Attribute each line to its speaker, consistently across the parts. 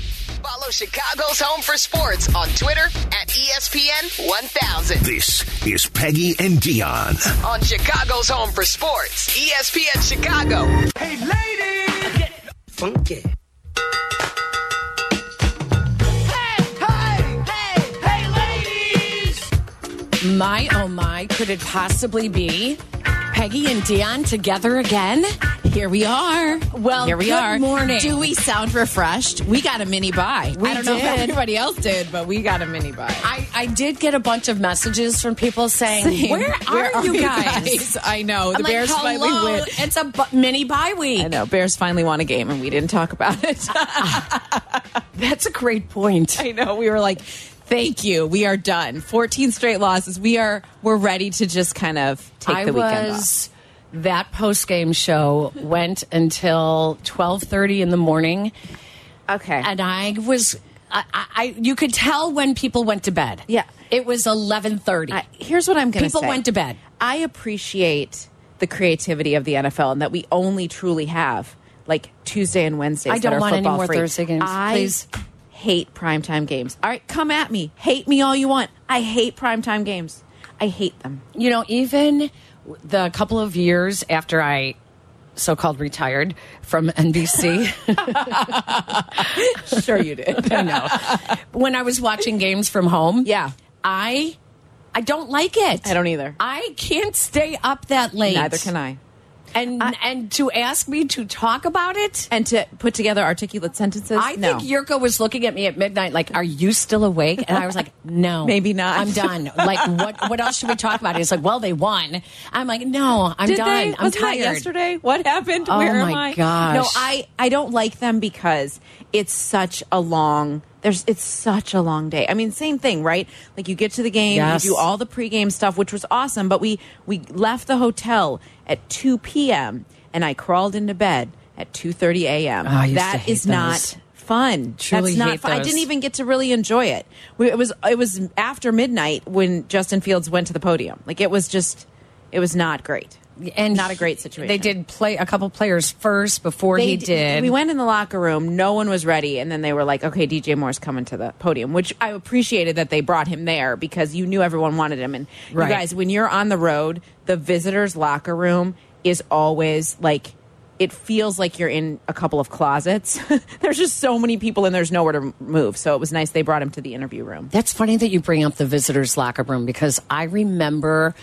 Speaker 1: Follow Chicago's Home for Sports on Twitter at E ESPN 1000.
Speaker 2: This is Peggy and Dion.
Speaker 1: On Chicago's Home for Sports, E ESPN Chicago.
Speaker 3: Hey, ladies! Get funky. Hey, hey, hey, hey, ladies!
Speaker 4: My oh my, could it possibly be Peggy and Dion together again? Here we are.
Speaker 5: Well,
Speaker 4: Here we
Speaker 5: good
Speaker 4: are.
Speaker 5: Morning.
Speaker 4: Do
Speaker 5: Do we sound refreshed? We got a mini buy.
Speaker 4: We
Speaker 5: I don't know if
Speaker 4: did.
Speaker 5: everybody else did, but we got a mini buy.
Speaker 4: I, I did get a bunch of messages from people saying, Where, are you guys?
Speaker 5: I know the
Speaker 4: I'm like,
Speaker 5: Bears
Speaker 4: "Hello,
Speaker 5: finally win.
Speaker 4: It's a bu- mini bye week.
Speaker 5: I know Bears finally won a game, and we didn't talk about it.
Speaker 4: That's a great point.
Speaker 5: I know we were like, "Thank you, we are done. 14 straight losses. We are we're ready to just kind of take
Speaker 4: I
Speaker 5: the weekend off."
Speaker 4: was that post game show went until twelve thirty in the morning,
Speaker 5: Okay,
Speaker 4: and I was I, I I- you could tell when people went to bed.
Speaker 5: Yeah.
Speaker 4: it was eleven thirty.
Speaker 5: I- here's what I'm going to
Speaker 4: People went to bed.
Speaker 5: I appreciate the creativity of the NFL and that we only truly have like Tuesday and Wednesdays.
Speaker 4: I
Speaker 5: that
Speaker 4: don't
Speaker 5: are
Speaker 4: want any
Speaker 5: football
Speaker 4: more
Speaker 5: free.
Speaker 4: Thursday games,
Speaker 5: I
Speaker 4: please.
Speaker 5: hate primetime games. All right, come at me. Hate me all you want. I hate primetime games. I hate them.
Speaker 4: you know, even the couple of years after I so called retired from NBC.
Speaker 5: Sure, you did.
Speaker 4: I know. When I was watching games from home,
Speaker 5: Yeah.
Speaker 4: I I don't like it.
Speaker 5: I don't either.
Speaker 4: I can't stay up that late.
Speaker 5: Neither can I.
Speaker 4: And and to ask me to talk about it,
Speaker 5: And to put together articulate sentences,
Speaker 4: I
Speaker 5: no.
Speaker 4: think Yurko was looking at me at midnight, like, "Are you still awake?" And I was like, "No,
Speaker 5: Maybe not.
Speaker 4: I'm done. Like, what what else should we talk about?" He's like, "Well, they won." I'm like, "No, I'm
Speaker 5: Did
Speaker 4: done.
Speaker 5: they?
Speaker 4: I'm
Speaker 5: Wasn't that
Speaker 4: tired."
Speaker 5: yesterday, what happened?
Speaker 4: Oh
Speaker 5: Where am
Speaker 4: my
Speaker 5: I?
Speaker 4: gosh.
Speaker 5: No, I I don't like them because it's such a long. There's it's such a long day. I mean, same thing, right? Like you get to the game,
Speaker 4: Yes.
Speaker 5: you do all the pregame stuff, which was awesome. But we we left the hotel at 2 p.m. and I crawled into bed at 2:30 a.m.
Speaker 4: Oh, I used to
Speaker 5: that
Speaker 4: hate
Speaker 5: is not
Speaker 4: those.
Speaker 5: fun.
Speaker 4: Truly
Speaker 5: That's not
Speaker 4: hate
Speaker 5: fun. I
Speaker 4: those.
Speaker 5: didn't even get to really enjoy it. We, it was it was after midnight when Justin Fields went to the podium. Like it was just, it was not great.
Speaker 4: and
Speaker 5: not a great
Speaker 4: he-
Speaker 5: situation.
Speaker 4: They did play a couple players first before
Speaker 5: They
Speaker 4: he
Speaker 5: d-
Speaker 4: did.
Speaker 5: We went in the locker room. No one was ready, and then they were like, "Okay, DJ Moore's coming to the podium," which I appreciated that they brought him there because you knew everyone wanted him. And
Speaker 4: Right.
Speaker 5: you guys, when you're on the road, the visitors' locker room is always like. It feels like you're in a couple of closets. there's just so many people and there's nowhere to move. So it was nice they brought him to the interview room.
Speaker 4: That's funny that you bring up the visitors' locker room because I remember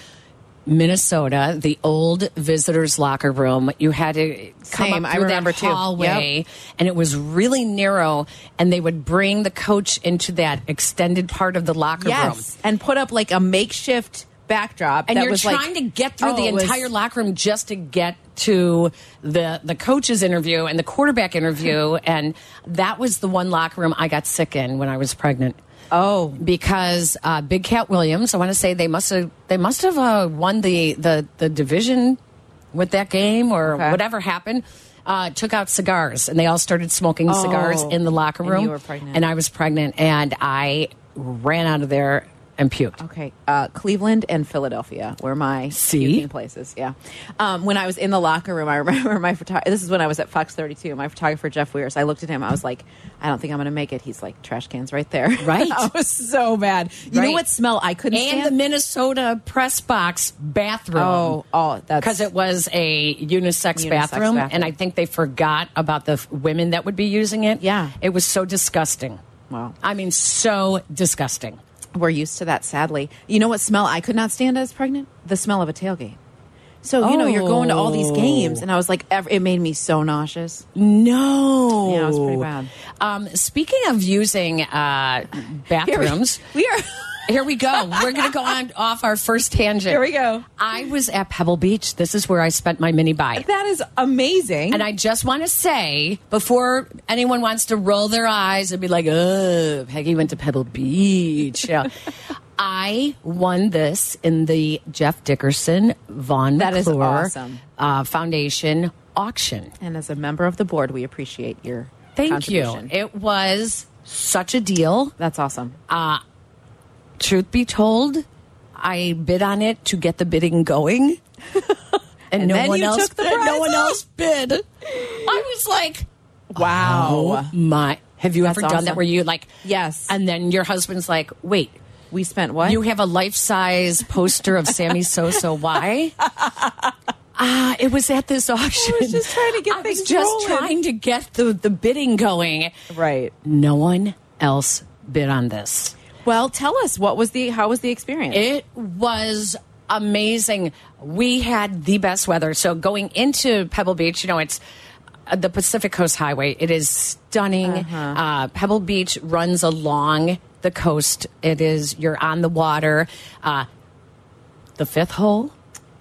Speaker 4: Minnesota, the old visitors' locker room. You had to come
Speaker 5: Same,
Speaker 4: up
Speaker 5: I
Speaker 4: through
Speaker 5: remember
Speaker 4: that
Speaker 5: too.
Speaker 4: hallway, and it was really narrow. And they would bring the coach into that extended part of the locker room.
Speaker 5: Yes, and put up like a makeshift backdrop.
Speaker 4: And
Speaker 5: that
Speaker 4: you're
Speaker 5: was like-
Speaker 4: trying to get through
Speaker 5: Oh,
Speaker 4: the
Speaker 5: it was-
Speaker 4: entire locker room just to get to the the coach's interview and the quarterback interview, and that was the one locker room I got sick in when I was pregnant.
Speaker 5: Oh,
Speaker 4: because uh, Big Cat Williams. I want to say they must have they must have uh, won the, the the division with that game or
Speaker 5: Okay.
Speaker 4: whatever happened. Uh, took out cigars and they all started smoking cigars in the locker
Speaker 5: Oh, and you
Speaker 4: room.
Speaker 5: were pregnant.
Speaker 4: and I was pregnant, and I ran out of there and puked.
Speaker 5: Okay, uh, Cleveland and Philadelphia were my
Speaker 4: See?
Speaker 5: puking places. Yeah, um, when I was in the locker room, I remember my photographer. This is when I was at Fox 32. My photographer Jeff Weirs. I looked at him. I was like, I don't think I'm going to make it. He's like, trash cans right there.
Speaker 4: Right.
Speaker 5: I was so bad. You know
Speaker 4: Right.
Speaker 5: what smell I couldn't
Speaker 4: And the
Speaker 5: stand?
Speaker 4: Minnesota press box bathroom.
Speaker 5: Oh, oh, that's-
Speaker 4: because it was a unisex,
Speaker 5: Unisex
Speaker 4: bathroom,
Speaker 5: bathroom.
Speaker 4: and I think they forgot about the f- women that would be using it.
Speaker 5: Yeah.
Speaker 4: it was so disgusting.
Speaker 5: Wow.
Speaker 4: I mean, so disgusting.
Speaker 5: We're used to that, sadly. You know what smell I could not stand as pregnant? The smell of a tailgate. So you know you're going to all
Speaker 4: Oh.
Speaker 5: these games, and I was like, ev- it made me so nauseous.
Speaker 4: No,
Speaker 5: Yeah, it was pretty bad.
Speaker 4: Um, speaking of using uh, bathrooms,
Speaker 5: we are.
Speaker 4: Here we go. We're going to go on off our first tangent.
Speaker 5: Here we go.
Speaker 4: I was at Pebble Beach. This is where I spent my mini buy.
Speaker 5: That is amazing.
Speaker 4: And I just want to say before anyone wants to roll their eyes and be like, "Oh, Peggy went to Pebble Beach." Yeah. I won this in the Jeff Dickerson Von
Speaker 5: That is
Speaker 4: McClure
Speaker 5: awesome.
Speaker 4: uh, Foundation auction.
Speaker 5: And as a member of the board, we appreciate your
Speaker 4: Thank you.
Speaker 5: contribution.
Speaker 4: It was such a deal.
Speaker 5: That's awesome.
Speaker 4: Uh, Truth be told, I bid on it to get the bidding going. And, no
Speaker 5: then
Speaker 4: one
Speaker 5: you
Speaker 4: else
Speaker 5: took the prize
Speaker 4: no one
Speaker 5: off.
Speaker 4: else bid. I was like,
Speaker 5: wow.
Speaker 4: my Oh, uh, Have you
Speaker 5: That's
Speaker 4: ever done
Speaker 5: awesome.
Speaker 4: that where you like
Speaker 5: Yes.
Speaker 4: and then your husband's like, "Wait,
Speaker 5: We spent what?
Speaker 4: you have a life-size poster of Sammy Sosa. Why?" Ah, it was at this auction. I
Speaker 5: was just trying to get
Speaker 4: I was
Speaker 5: things
Speaker 4: just
Speaker 5: rolling.
Speaker 4: trying to get the the bidding going.
Speaker 5: right.
Speaker 4: No one else bid on this.
Speaker 5: Well, tell us what was the how was the experience?
Speaker 4: It was amazing. We had the best weather. So going into Pebble Beach, you know, it's uh, the Pacific Coast Highway. It is stunning. uh
Speaker 5: Uh-huh.
Speaker 4: Pebble Beach runs along the coast. It is you're on the water. Uh, the fifth hole,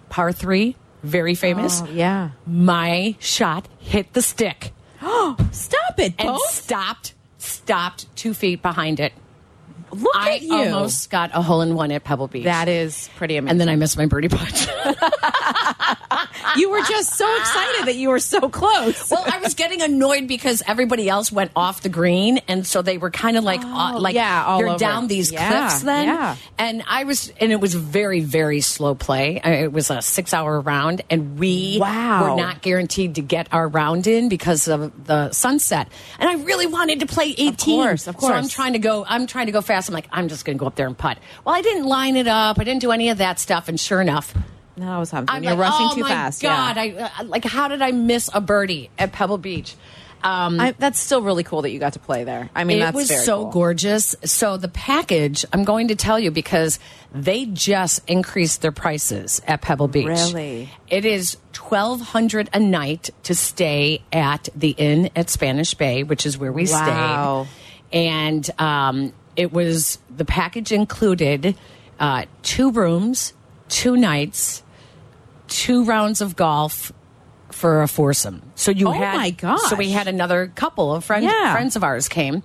Speaker 4: par three, very famous.
Speaker 5: Oh, yeah.
Speaker 4: My shot hit the stick
Speaker 5: Stop it,
Speaker 4: and
Speaker 5: Bo.
Speaker 4: stopped, stopped two feet behind it.
Speaker 5: Look
Speaker 4: I
Speaker 5: at you.
Speaker 4: almost got a hole in one at Pebble Beach.
Speaker 5: that is pretty amazing.
Speaker 4: and then I missed my birdie putt.
Speaker 5: you were just so excited that you were so close.
Speaker 4: well, I was getting annoyed because everybody else went off the green, and so they were kind of like, uh, like
Speaker 5: Oh, yeah, all
Speaker 4: you're
Speaker 5: over.
Speaker 4: down these
Speaker 5: Yeah,
Speaker 4: cliffs then.
Speaker 5: yeah.
Speaker 4: And I was, and it was very, very slow play. I- It was a six-hour round, and we
Speaker 5: Wow.
Speaker 4: were not guaranteed to get our round in because of the sunset. And I really wanted to play 18.
Speaker 5: course, of
Speaker 4: So I'm
Speaker 5: course.
Speaker 4: trying to go. I'm trying to go fast. I'm like, I'm just going to go up there and putt. Well, I didn't line it up. I didn't do any of that stuff. And sure enough.
Speaker 5: no, I was having
Speaker 4: I'm
Speaker 5: You're
Speaker 4: like,
Speaker 5: rushing
Speaker 4: oh
Speaker 5: too
Speaker 4: my
Speaker 5: fast.
Speaker 4: God,
Speaker 5: yeah.
Speaker 4: I, uh, like how did I miss a birdie at Pebble Beach? Um,
Speaker 5: I, that's still really cool that you got to play there. I mean,
Speaker 4: it
Speaker 5: that's
Speaker 4: was
Speaker 5: very
Speaker 4: so
Speaker 5: cool.
Speaker 4: gorgeous. So the package, I'm going to tell you because they just increased their prices at Pebble Beach.
Speaker 5: Really?
Speaker 4: It is 1200 a night to stay at the inn at Spanish Bay, which is where we
Speaker 5: Wow.
Speaker 4: stayed. And um, it was the package included uh, two rooms, two nights, two rounds of golf for a foursome. So you
Speaker 5: Oh
Speaker 4: had
Speaker 5: my gosh.
Speaker 4: So we had another couple of friends
Speaker 5: Yeah.
Speaker 4: friends of ours came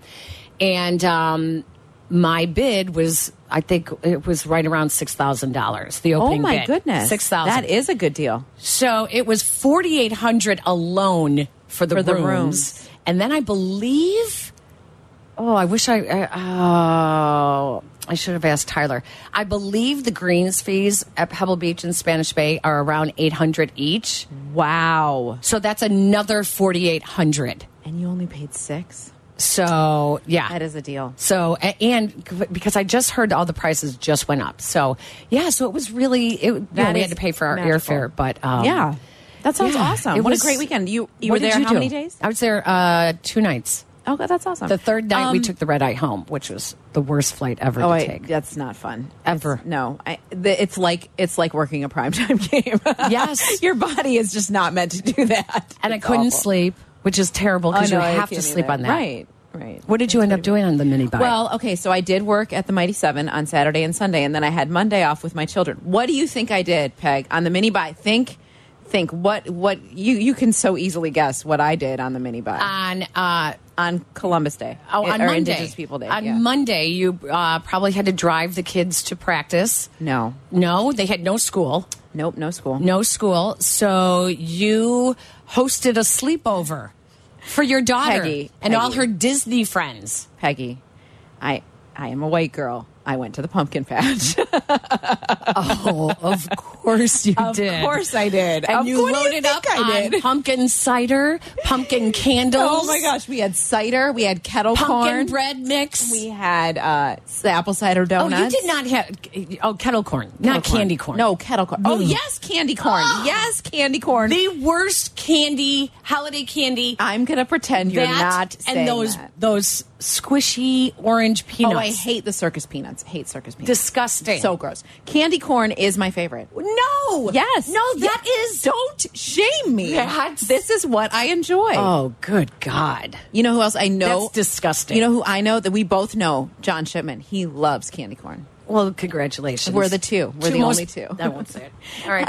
Speaker 4: and um my bid was I think it was right around six thousand dollars. The
Speaker 5: Oh
Speaker 4: opening
Speaker 5: my
Speaker 4: bid.
Speaker 5: goodness.
Speaker 4: six thousand.
Speaker 5: That is a good deal.
Speaker 4: So it was forty eight hundred alone for the
Speaker 5: For
Speaker 4: rooms.
Speaker 5: the rooms.
Speaker 4: and then I believe. Oh, I wish I. Uh, oh, I should have asked Tyler. I believe the greens fees at Pebble Beach and Spanish Bay are around eight hundred each.
Speaker 5: Wow.
Speaker 4: So that's another forty eight hundred.
Speaker 5: And you only paid six?
Speaker 4: So yeah,
Speaker 5: That is a deal.
Speaker 4: So a- and c- because I just heard all the prices just went up. So yeah, so it was really it, you know,
Speaker 5: That
Speaker 4: we
Speaker 5: is
Speaker 4: had to pay for our
Speaker 5: magical.
Speaker 4: airfare, but um,
Speaker 5: yeah. That sounds
Speaker 4: yeah,
Speaker 5: awesome.
Speaker 4: it
Speaker 5: What
Speaker 4: was-
Speaker 5: a great weekend. You you
Speaker 4: What
Speaker 5: were
Speaker 4: did
Speaker 5: there how
Speaker 4: do?
Speaker 5: many days?
Speaker 4: I was there uh, two nights.
Speaker 5: Oh, God, that's awesome.
Speaker 4: The third night we
Speaker 5: Um,
Speaker 4: took the red eye home, which was the worst flight ever
Speaker 5: Oh,
Speaker 4: to
Speaker 5: I-
Speaker 4: take.
Speaker 5: that's not fun
Speaker 4: Ever.
Speaker 5: It's- no, I, the, it's like it's like working a primetime game.
Speaker 4: Yes.
Speaker 5: your body is just not meant to do that.
Speaker 4: and I
Speaker 5: It's
Speaker 4: couldn't
Speaker 5: awful.
Speaker 4: sleep, which is terrible
Speaker 5: Oh,
Speaker 4: because
Speaker 5: no,
Speaker 4: you
Speaker 5: I
Speaker 4: have to
Speaker 5: can't
Speaker 4: sleep
Speaker 5: either.
Speaker 4: on that.
Speaker 5: Right, right.
Speaker 4: What did you end up doing on the mini bike?
Speaker 5: Well, okay, so I did work at the Mighty Seven on Saturday and Sunday, and then I had Monday off with my children. What do you think I did, Peg, on the mini buy? Think, think. What, what? You, you can so easily guess what I did on the mini buy
Speaker 4: on uh,
Speaker 5: on Columbus Day.
Speaker 4: Oh,
Speaker 5: I-
Speaker 4: on
Speaker 5: or
Speaker 4: Monday.
Speaker 5: Indigenous People Day.
Speaker 4: On
Speaker 5: yeah.
Speaker 4: Monday, you uh, probably had to drive the kids to practice.
Speaker 5: No,
Speaker 4: No, they had no school.
Speaker 5: nope, no school.
Speaker 4: No school. So you hosted a sleepover for your daughter
Speaker 5: Peggy,
Speaker 4: and all
Speaker 5: Peggy.
Speaker 4: her Disney friends.
Speaker 5: Peggy, I, I am a white girl. I went to the pumpkin patch.
Speaker 4: Oh, of course you did.
Speaker 5: Of course I did.
Speaker 4: And
Speaker 5: Of
Speaker 4: you
Speaker 5: course- what do
Speaker 4: loaded
Speaker 5: think
Speaker 4: up
Speaker 5: I
Speaker 4: on
Speaker 5: did?
Speaker 4: pumpkin cider, pumpkin candles.
Speaker 5: Oh my gosh, we had cider, we had kettle
Speaker 4: Pumpkin
Speaker 5: corn,
Speaker 4: bread mix.
Speaker 5: we had uh, s- apple cider
Speaker 4: oh,
Speaker 5: donuts.
Speaker 4: you did not have. Oh, kettle corn, not
Speaker 5: Kettle
Speaker 4: candy corn.
Speaker 5: No, kettle corn. Oh,
Speaker 4: Mm.
Speaker 5: yes, candy corn.
Speaker 4: Oh.
Speaker 5: Yes, candy corn.
Speaker 4: The worst candy, holiday candy.
Speaker 5: I'm going to pretend you're not saying
Speaker 4: and those
Speaker 5: that.
Speaker 4: those squishy orange peanuts.
Speaker 5: Oh, I hate the circus peanuts. Hate circus peanuts.
Speaker 4: Disgusting.
Speaker 5: So gross. Candy corn is my favorite.
Speaker 4: No.
Speaker 5: Yes.
Speaker 4: No, that
Speaker 5: Yes.
Speaker 4: is-
Speaker 5: Don't shame me.
Speaker 4: That's-
Speaker 5: This is what I enjoy.
Speaker 4: Oh, good God.
Speaker 5: You know who else I know?
Speaker 4: That's disgusting.
Speaker 5: You know who I know that we both know? John Shipman. He loves candy corn.
Speaker 4: Well, congratulations.
Speaker 5: We're the two. We're the
Speaker 4: most-
Speaker 5: only two.
Speaker 4: I won't say it. All right.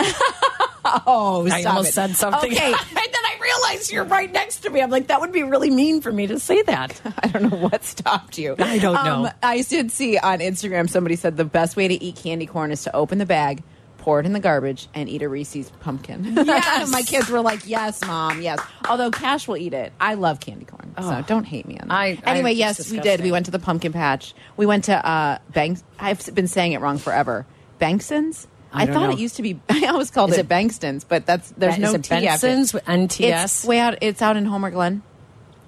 Speaker 5: Oh,
Speaker 4: I almost said something.
Speaker 5: Okay.
Speaker 4: and then I realized you're right next to me. I'm like, that would be really mean for me to say that.
Speaker 5: I don't know what stopped you. Um,
Speaker 4: I don't know.
Speaker 5: I did see on Instagram somebody said the best way to eat candy corn is to open the bag, pour it in the garbage, and eat a Reese's pumpkin.
Speaker 4: Yes.
Speaker 5: My kids were like, "Yes, mom, yes." Although Cash will eat it. I love candy corn, so don't hate me on that.
Speaker 4: Oh. I- I-
Speaker 5: anyway,
Speaker 4: it's
Speaker 5: yes, we did.
Speaker 4: disgusting.
Speaker 5: We went to the pumpkin patch. We went to uh, Banks. I've been saying it wrong forever. Bankson's.
Speaker 4: I
Speaker 5: I,
Speaker 4: don't
Speaker 5: thought
Speaker 4: know.
Speaker 5: it used to be. I always called
Speaker 4: Is
Speaker 5: it,
Speaker 4: it-
Speaker 5: Bankston's, but that's there's
Speaker 4: That-
Speaker 5: no
Speaker 4: is it
Speaker 5: T after.
Speaker 4: Benson's with NTS?
Speaker 5: It's way out. It's out in Homer Glen.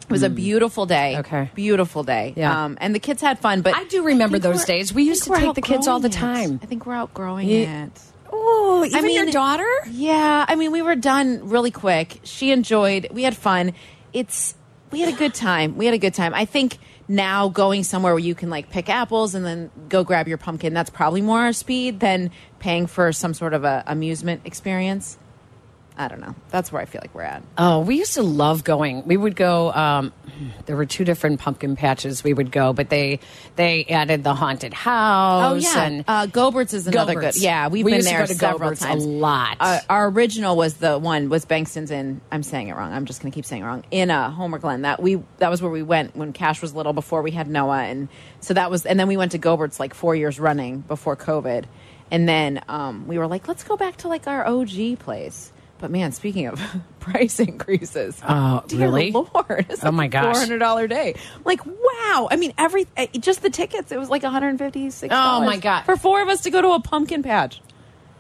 Speaker 5: It was a beautiful day.
Speaker 6: Hmm. Okay.
Speaker 5: Beautiful day.
Speaker 6: Yeah.
Speaker 5: Um, and the kids had fun, but
Speaker 6: I do remember
Speaker 5: I think
Speaker 6: those
Speaker 5: we're-
Speaker 6: days. We
Speaker 5: I
Speaker 6: used
Speaker 5: think
Speaker 6: to
Speaker 5: we're
Speaker 6: take the kids all the
Speaker 5: outgrowing it.
Speaker 6: time.
Speaker 5: I think we're outgrowing
Speaker 6: Yeah.
Speaker 5: it.
Speaker 6: Oh, even
Speaker 5: I mean,
Speaker 6: your daughter?
Speaker 5: Yeah, I mean, we were done really quick. She enjoyed. We had fun. It's we had a good time. We had a good time. I think now going somewhere where you can like pick apples and then go grab your pumpkin. That's probably more our speed than paying for some sort of a amusement experience. I don't know. That's where I feel like we're at.
Speaker 6: Oh, we used to love going. We would go. Um, there were two different pumpkin patches we would go, but they they added the haunted house. and
Speaker 5: uh, Gobert's is another
Speaker 6: Gobert's.
Speaker 5: good. Yeah, we've
Speaker 6: We
Speaker 5: been
Speaker 6: used to
Speaker 5: there
Speaker 6: go to
Speaker 5: several
Speaker 6: Gobert's a
Speaker 5: times.
Speaker 6: lot.
Speaker 5: Our, our original was the one was Bankston's in. I'm saying it wrong. I'm just going to keep saying it wrong. In uh, Homer Glen, that we that was where we went when Cash was little before we had Noah, and so that was. And then we went to Gobert's like four years running before COVID, and then um, we were like, let's go back to like our OG place. But man, speaking of price increases,
Speaker 6: Oh,
Speaker 5: dear
Speaker 6: really?
Speaker 5: Lord, it's
Speaker 6: Oh, my gosh.
Speaker 5: four hundred dollar day. Like, wow. I mean, every eh, just the tickets, it was like one hundred and fifty six.
Speaker 6: Oh, my God.
Speaker 5: For four of us to go to a pumpkin patch,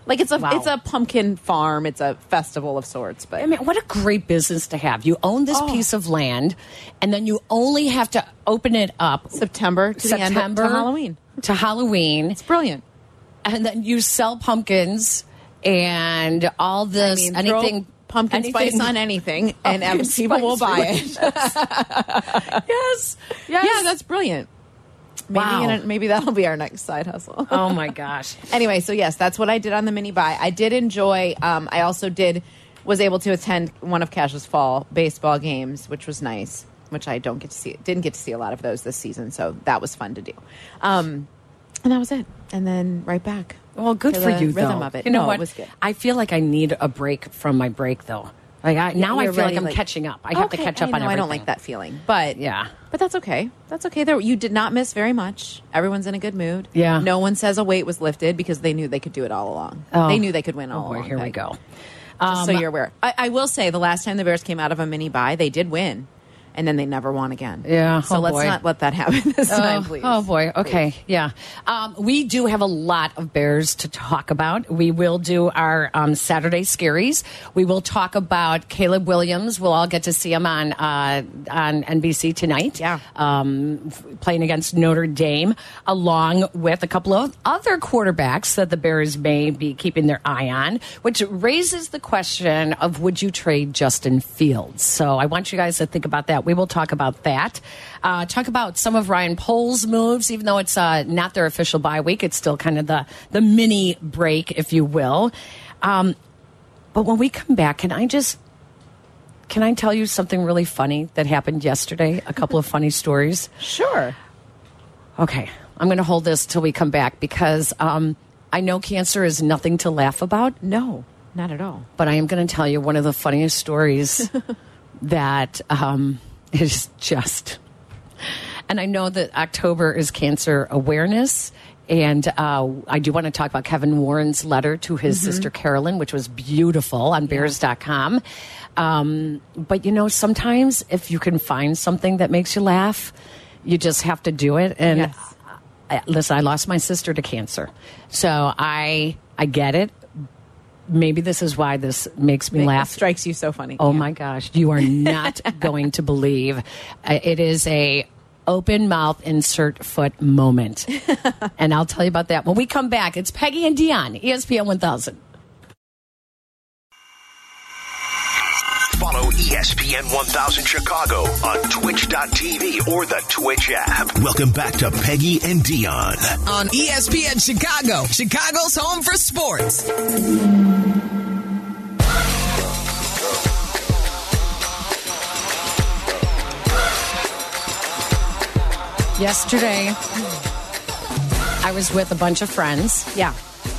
Speaker 5: like it's a
Speaker 6: Wow.
Speaker 5: it's a pumpkin farm. It's a festival of sorts. But
Speaker 6: I mean, what a great business to have. You own
Speaker 4: Oh.
Speaker 6: this piece of land, and then you only have to open it up
Speaker 5: September to the end of-
Speaker 6: September
Speaker 5: to Halloween.
Speaker 6: To Halloween,
Speaker 5: It's brilliant.
Speaker 6: and then you sell pumpkins and all
Speaker 5: I
Speaker 6: this
Speaker 5: mean, throw
Speaker 6: anything
Speaker 5: pumpkin
Speaker 6: anything-
Speaker 5: spice on anything, and
Speaker 6: Pumpkin
Speaker 5: and people will
Speaker 6: spice
Speaker 5: buy it.
Speaker 6: Yes, yes.
Speaker 5: Yeah, that's brilliant. Maybe
Speaker 6: Wow.
Speaker 5: in a- maybe that'll be our next side hustle.
Speaker 6: oh my gosh.
Speaker 5: anyway, so yes, that's what I did on the mini buy. I did enjoy. Um, I also did was able to attend one of Cash's fall baseball games, which was nice. Which I don't get to see. Didn't get to see a lot of those this season, so that was fun to do. Um, and that was it. And then right back.
Speaker 6: Well, good
Speaker 5: to
Speaker 6: for
Speaker 5: the
Speaker 6: you.
Speaker 5: Rhythm
Speaker 6: though.
Speaker 5: of it.
Speaker 6: You know
Speaker 5: No,
Speaker 6: what?
Speaker 5: It was good.
Speaker 6: I feel like I need a break from my break though. Like I, now, I
Speaker 5: You're
Speaker 6: feel
Speaker 5: ready,
Speaker 6: like I'm catching up. I have to
Speaker 5: Okay,
Speaker 6: catch
Speaker 5: I
Speaker 6: up on
Speaker 5: know,
Speaker 6: everything.
Speaker 5: I don't like that feeling, but
Speaker 6: Yeah.
Speaker 5: but that's okay. That's okay. There, you did not miss very much. Everyone's in a good mood.
Speaker 6: Yeah.
Speaker 5: No one says a weight was lifted because they knew they could do it all along.
Speaker 6: Oh.
Speaker 5: They knew they could win all
Speaker 6: Oh boy,
Speaker 5: along.
Speaker 6: here we
Speaker 5: Peg.
Speaker 6: go. Um,
Speaker 5: Just so you're aware. I, I will say the last time the Bears came out of a mini buy, they did win, and then they never won again.
Speaker 6: Yeah,
Speaker 5: So
Speaker 6: oh
Speaker 5: let's
Speaker 6: boy.
Speaker 5: not let that happen this time,
Speaker 6: Oh,
Speaker 5: please.
Speaker 6: Oh boy. Okay.
Speaker 5: Please.
Speaker 6: Yeah. Um, we do have a lot of bears to talk about. We will do our um, Saturday scaries. We will talk about Caleb Williams. We'll all get to see him on uh, on NBC tonight.
Speaker 5: Yeah.
Speaker 6: Um, f- playing against Notre Dame, along with a couple of other quarterbacks that the Bears may be keeping their eye on, which raises the question of would you trade Justin Fields? So I want you guys to think about that. We will talk about that. Uh, talk about some of Ryan Pohl's moves, even though it's uh, not their official bye week. It's still kind of the the mini break, if you will. Um, but when we come back, can I just can I tell you something really funny that happened yesterday? A couple of funny stories.
Speaker 5: Sure.
Speaker 6: Okay, I'm going to hold this till we come back because um, I know cancer is nothing to laugh about,
Speaker 5: No, not at all.
Speaker 6: but I am going to tell you one of the funniest stories that um, is just. And I know that October is Cancer Awareness. And uh, I do want to talk about Kevin Warren's letter to his sister Carolyn, which was beautiful on bears.com. Um, but you know, sometimes if you can find something that makes you laugh, you just have to do it. And
Speaker 5: Yes.
Speaker 6: I- listen, I lost my sister to cancer, so I I get it. Maybe this is why this makes me
Speaker 5: It
Speaker 6: laugh.
Speaker 5: strikes you so funny.
Speaker 6: Oh my gosh, you are not going to believe. Uh, it is a open mouth insert foot moment. and I'll tell you about that when we come back. It's Peggy and Dion, E ESPN 1000.
Speaker 2: Follow E ESPN 1000 Chicago on twitch.tv or the Twitch app. Welcome back to Peggy and Dion.
Speaker 7: on ESPN Chicago, Chicago's home for sports.
Speaker 6: Yesterday, I was with a bunch of friends.
Speaker 5: Yeah.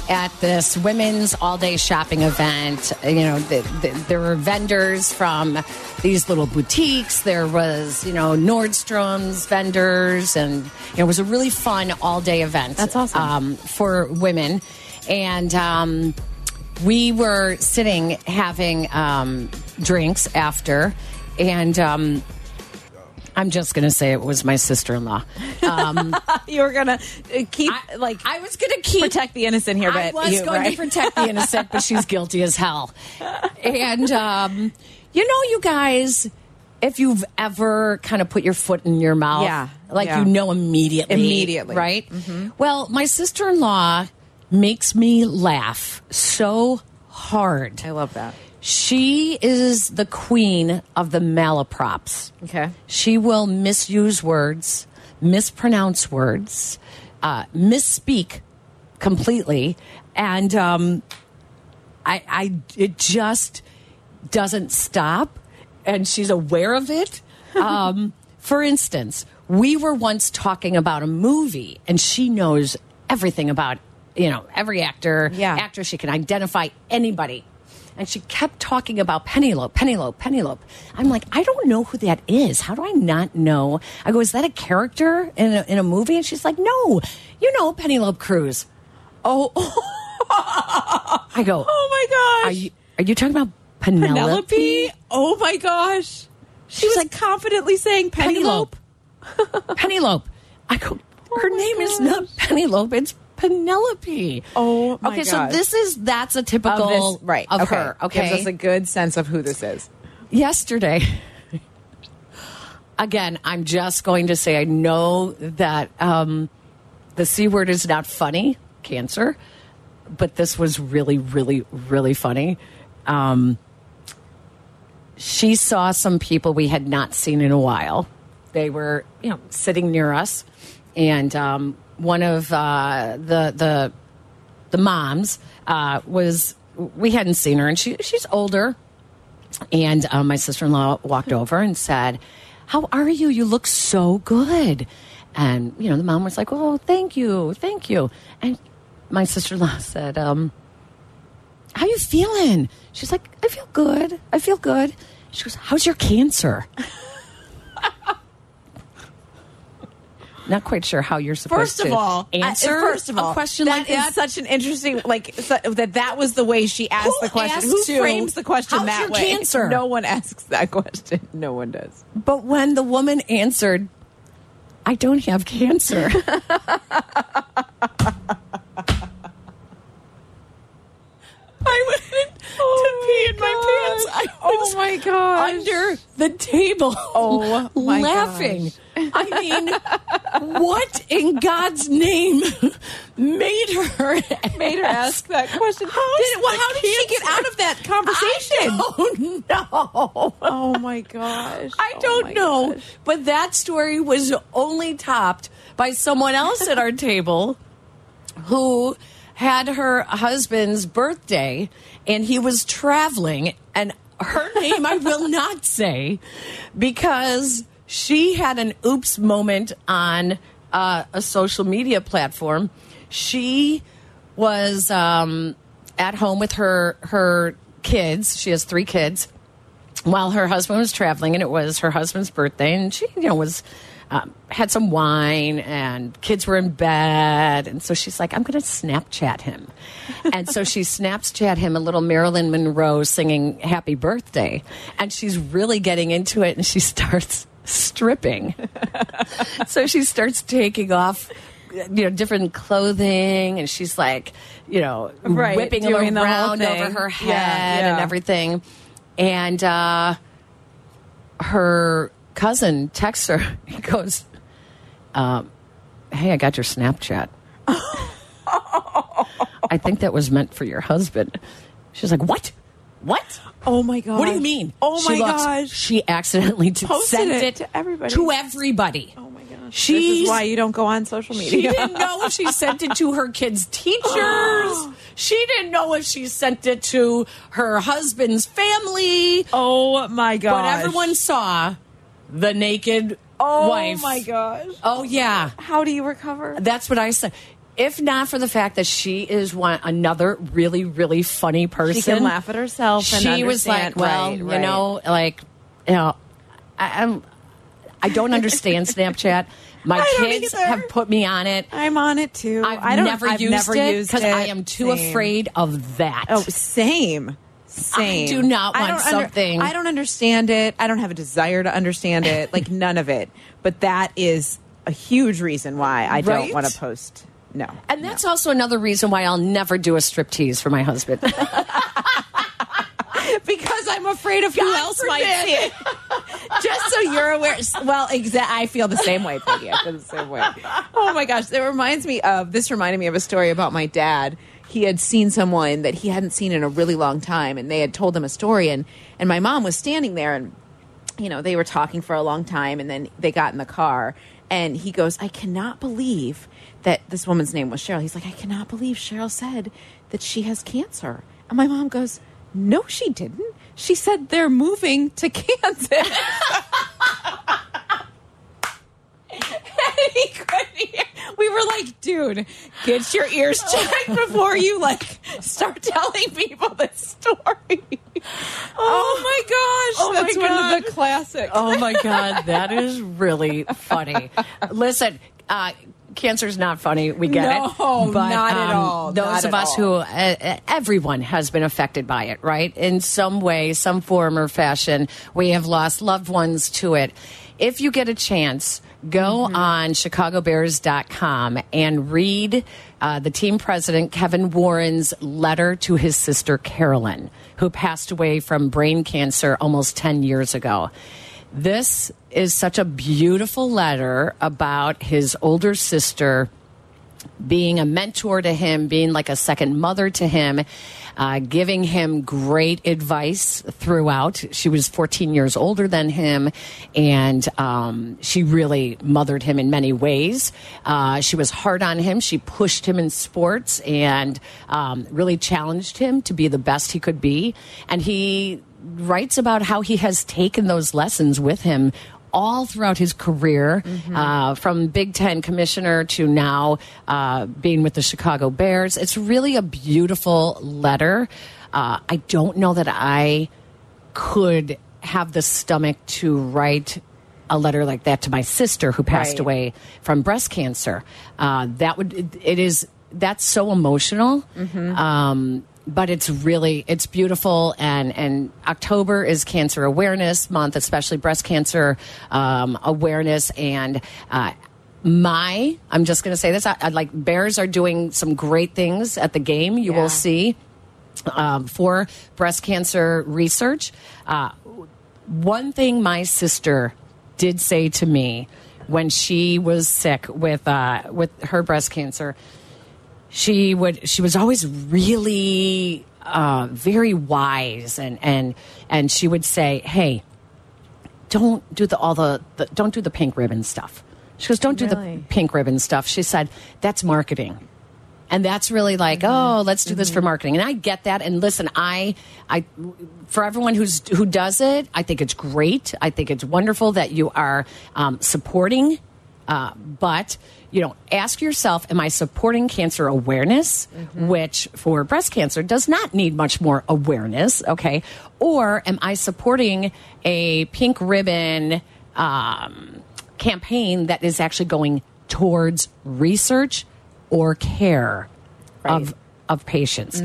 Speaker 6: at this women's all day shopping event. You know, th th there were vendors from these little boutiques. There was, you know, Nordstrom's vendors, and you know, it was a really fun all day event.
Speaker 5: That's awesome.
Speaker 6: um, for women, and. Um, we were sitting having um, drinks after, and um, I'm just going to say it was my sister in law.
Speaker 5: You're gonna uh, keep like
Speaker 6: I was going to keep
Speaker 5: protect the innocent here,
Speaker 6: I
Speaker 5: but
Speaker 6: was
Speaker 5: you,
Speaker 6: going
Speaker 5: right?
Speaker 6: to protect the innocent, but she's guilty as hell. And um, you know, you guys,
Speaker 4: if you've ever kind of put your foot in your mouth,
Speaker 5: Yeah,
Speaker 4: like
Speaker 5: yeah.
Speaker 4: you know immediately,
Speaker 5: Immediately. Mm-hmm.
Speaker 4: right? Well, my sister in law makes me laugh so hard.
Speaker 5: I love that.
Speaker 4: She is the queen of the malaprops.
Speaker 5: Okay.
Speaker 4: She will misuse words, mispronounce words, uh, misspeak completely, and um, I, I, it just doesn't stop, and she's aware of it. Um, for instance, we were once talking about a movie, and she knows everything about you know every actor,
Speaker 5: Yeah.
Speaker 4: actress. She can identify anybody. And she kept talking about Penelope, Penelope, Penelope. I'm like, I don't know who that is. How do I not know? I go, is that a character in a, in a movie? And she's like, no, you know Penelope Cruz. Oh, I go,
Speaker 5: Oh my
Speaker 4: are you are you talking about Penelope?
Speaker 5: Penelope? Oh my gosh. She was
Speaker 4: like,
Speaker 5: like confidently saying Penelope.
Speaker 4: Penelope. Penelope. I go.
Speaker 5: Oh
Speaker 4: Her
Speaker 5: my
Speaker 4: name
Speaker 5: gosh.
Speaker 4: is not Penelope. It's Penelope.
Speaker 5: Oh, my
Speaker 4: okay.
Speaker 5: gosh.
Speaker 4: So this is that's a typical
Speaker 5: Of this, right.
Speaker 4: of
Speaker 5: okay.
Speaker 4: her. Okay.
Speaker 5: Gives us a good sense of who this is.
Speaker 4: yesterday. Again, I'm just going to say I know that um, the C word is not funny, cancer, but this was really, really, really funny. Um, she saw some people we had not seen in a while. They were, you know, sitting near us, and um, one of uh, the the the moms uh, was we hadn't seen her, and she she's older, and uh, my sister in law walked over and said, How are you? You look so good. And, you know, the mom was like, Oh, thank you. Thank you. And my sister in law said, um, How you feeling? She's like, I feel good. I feel good. She goes, How's your cancer? Not quite sure how you're supposed
Speaker 5: First
Speaker 4: to
Speaker 5: of all, I-
Speaker 4: answer
Speaker 5: first of all,
Speaker 4: a question
Speaker 5: that
Speaker 4: like
Speaker 5: is
Speaker 4: that.
Speaker 5: such an interesting like so, that that was the way she asked
Speaker 4: Who
Speaker 5: the question.
Speaker 4: asks
Speaker 5: Who
Speaker 4: you,
Speaker 5: frames the question
Speaker 4: "How's
Speaker 5: that
Speaker 4: your
Speaker 5: way?
Speaker 4: cancer?"
Speaker 5: No one asks that question. No one does.
Speaker 4: But when the woman answered, I don't have cancer. I went to pee in my pants. I was
Speaker 5: oh my gosh.
Speaker 4: under the table.
Speaker 5: Oh my
Speaker 4: laughing. I mean, what in God's name made her
Speaker 5: made her ask that question.
Speaker 4: How's
Speaker 5: Did- well,
Speaker 4: the
Speaker 5: how did she get
Speaker 4: cancer?
Speaker 5: out of that conversation?
Speaker 4: Oh no.
Speaker 5: Oh my gosh.
Speaker 4: I
Speaker 5: Oh
Speaker 4: don't
Speaker 5: my
Speaker 4: know,
Speaker 5: gosh.
Speaker 4: but that story was only topped by someone else at our table who had her husband's birthday and he was traveling and her name I will not say because she had an oops moment on uh, a social media platform. She was um, at home with her her kids. She has three kids while her husband was traveling, and it was her husband's birthday, and she, you know, was um, had some wine, and kids were in bed, and so she's like, "I'm going to Snapchat him," and so she Snapchat him a little Marilyn Monroe singing "Happy Birthday," and she's really getting into it, and she starts stripping. so she starts taking off. You know, different clothing, and she's like, you know,
Speaker 5: Right,
Speaker 4: whipping him
Speaker 5: doing the whole
Speaker 4: around over
Speaker 5: thing.
Speaker 4: her head
Speaker 5: Yeah,
Speaker 4: and
Speaker 5: yeah.
Speaker 4: everything everything. And uh, her cousin texts her. He goes, um, "Hey, I got your Snapchat. I think that was meant for your husband." She's like, "What? What?
Speaker 5: Oh my god.
Speaker 4: What do you mean?
Speaker 5: Oh my
Speaker 4: she looks-
Speaker 5: gosh.
Speaker 4: She accidentally t-
Speaker 5: Posted
Speaker 4: sent
Speaker 5: it
Speaker 4: it,
Speaker 5: to everybody.
Speaker 4: To everybody.
Speaker 5: Oh my gosh.
Speaker 4: She's
Speaker 5: this is why you don't go on social
Speaker 4: she
Speaker 5: media.
Speaker 4: didn't know if she sent it to her kids' teachers. She didn't know if she sent it to her husband's family.
Speaker 5: oh my gosh.
Speaker 4: But everyone saw the naked
Speaker 5: Oh
Speaker 4: wife.
Speaker 5: my gosh.
Speaker 4: Oh yeah,
Speaker 5: How do you recover?
Speaker 4: that's what I said. If not for the fact that she is one another really really funny person,
Speaker 5: laugh at herself and
Speaker 4: she was like,
Speaker 5: understand-
Speaker 4: well,
Speaker 5: right,
Speaker 4: you
Speaker 5: right.
Speaker 4: know, like you know, I, I'm I don't understand Snapchat. My
Speaker 5: I don't
Speaker 4: kids
Speaker 5: either.
Speaker 4: have put me on it.
Speaker 5: I'm on it too.
Speaker 4: I've
Speaker 5: I don't,
Speaker 4: never
Speaker 5: I've
Speaker 4: used
Speaker 5: never
Speaker 4: it
Speaker 5: used
Speaker 4: because I
Speaker 5: it.
Speaker 4: am too
Speaker 5: Same.
Speaker 4: afraid of that.
Speaker 5: Oh, same. Same.
Speaker 4: I do not want
Speaker 5: don't under-
Speaker 4: something-
Speaker 5: I don't understand it. I don't have a desire to understand it. Like none of it. But that is a huge reason why I
Speaker 4: Right?
Speaker 5: don't want to post. No.
Speaker 4: And that's also another reason why I'll never do a striptease for my husband.
Speaker 5: because I'm afraid of who
Speaker 4: God
Speaker 5: else might see it. Just so you're aware. S- Well, exa- I feel the same way, Peggy. I feel the same way. Oh my gosh, that reminds me of this. Reminded me of a story about my dad. He had seen someone that he hadn't seen in a really long time, and they had told him a story, and and my mom was standing there, and you know they were talking for a long time, and then they got in the car, and he goes, "I cannot believe." That this woman's name was Cheryl. He's like, I cannot believe Cheryl said that she has cancer. And my mom goes, no, she didn't. She said they're moving to Kansas. and he couldn't hear. We were like, dude, get your ears checked before you like start telling people this story. Oh, my gosh. That's one of the classics.
Speaker 4: Oh my God, that is really funny. Listen, uh, cancer's not funny. We get it. um,
Speaker 5: No, not at all.
Speaker 4: Those
Speaker 5: Not
Speaker 4: of
Speaker 5: at
Speaker 4: us
Speaker 5: all.
Speaker 4: who, uh, uh, everyone has been affected by it, right? In some way, some form or fashion, we have lost loved ones to it. If you get a chance, go on chicagobears.com and read uh, the team president, Kevin Warren's letter to his sister, Carolyn, who passed away from brain cancer almost 10 years ago. This is such a beautiful letter about his older sister being a mentor to him, being like a second mother to him, uh, giving him great advice throughout. She was 14 years older than him, and um, she really mothered him in many ways. Uh, she was hard on him. She pushed him in sports and um, really challenged him to be the best he could be. And he writes about how he has taken those lessons with him all throughout his career, uh, from Big Ten commissioner to now uh, being with the Chicago Bears. It's really a beautiful letter. Uh, I don't know that I could have the stomach to write a letter like that to my sister who passed
Speaker 5: Right.
Speaker 4: away from breast cancer. Uh, that would it- it is that's so emotional. Um, but it's really it's beautiful and and October is Cancer Awareness Month, especially breast cancer um, awareness and. Uh, my, I'm just going to say this. I, I like Bears are doing some great things at the game. You
Speaker 5: Yeah.
Speaker 4: will see um, for breast cancer research. Uh, one thing my sister did say to me when she was sick with uh, with her breast cancer, she would she was always really uh, very wise and and and she would say, "Hey, don't do the all the, the don't do the pink ribbon stuff." She goes, "Don't do the
Speaker 5: Really?
Speaker 4: pink ribbon stuff." She said, "That's marketing." and that's really like oh let's do this for marketing and i get that and listen i i for everyone who's who does it i think it's great i think it's wonderful that you are um, supporting uh, but you know ask yourself am i supporting cancer awareness which for breast cancer does not need much more awareness okay or am i supporting a pink ribbon um, campaign that is actually going towards research or care of of patients.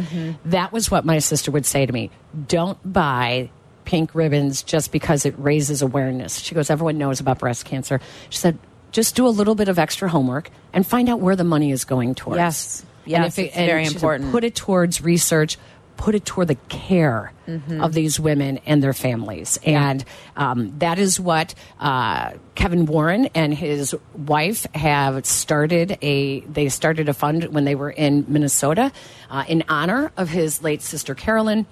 Speaker 4: That was what my sister would say to me. Don't buy pink ribbons just because it raises awareness. She goes, everyone knows about breast cancer. She said, just do a little bit of extra homework and find out where the money is going towards.
Speaker 5: Yes.
Speaker 4: And
Speaker 5: Yes,
Speaker 4: if it-
Speaker 5: it's very
Speaker 4: she said,
Speaker 5: important.
Speaker 4: put it towards research. Put it toward the care
Speaker 5: Mm-hmm.
Speaker 4: of these women and their families, and um, that is what uh, Kevin Warren and his wife have started a. They started a fund when they were in Minnesota uh, in honor of his late sister Carolyn.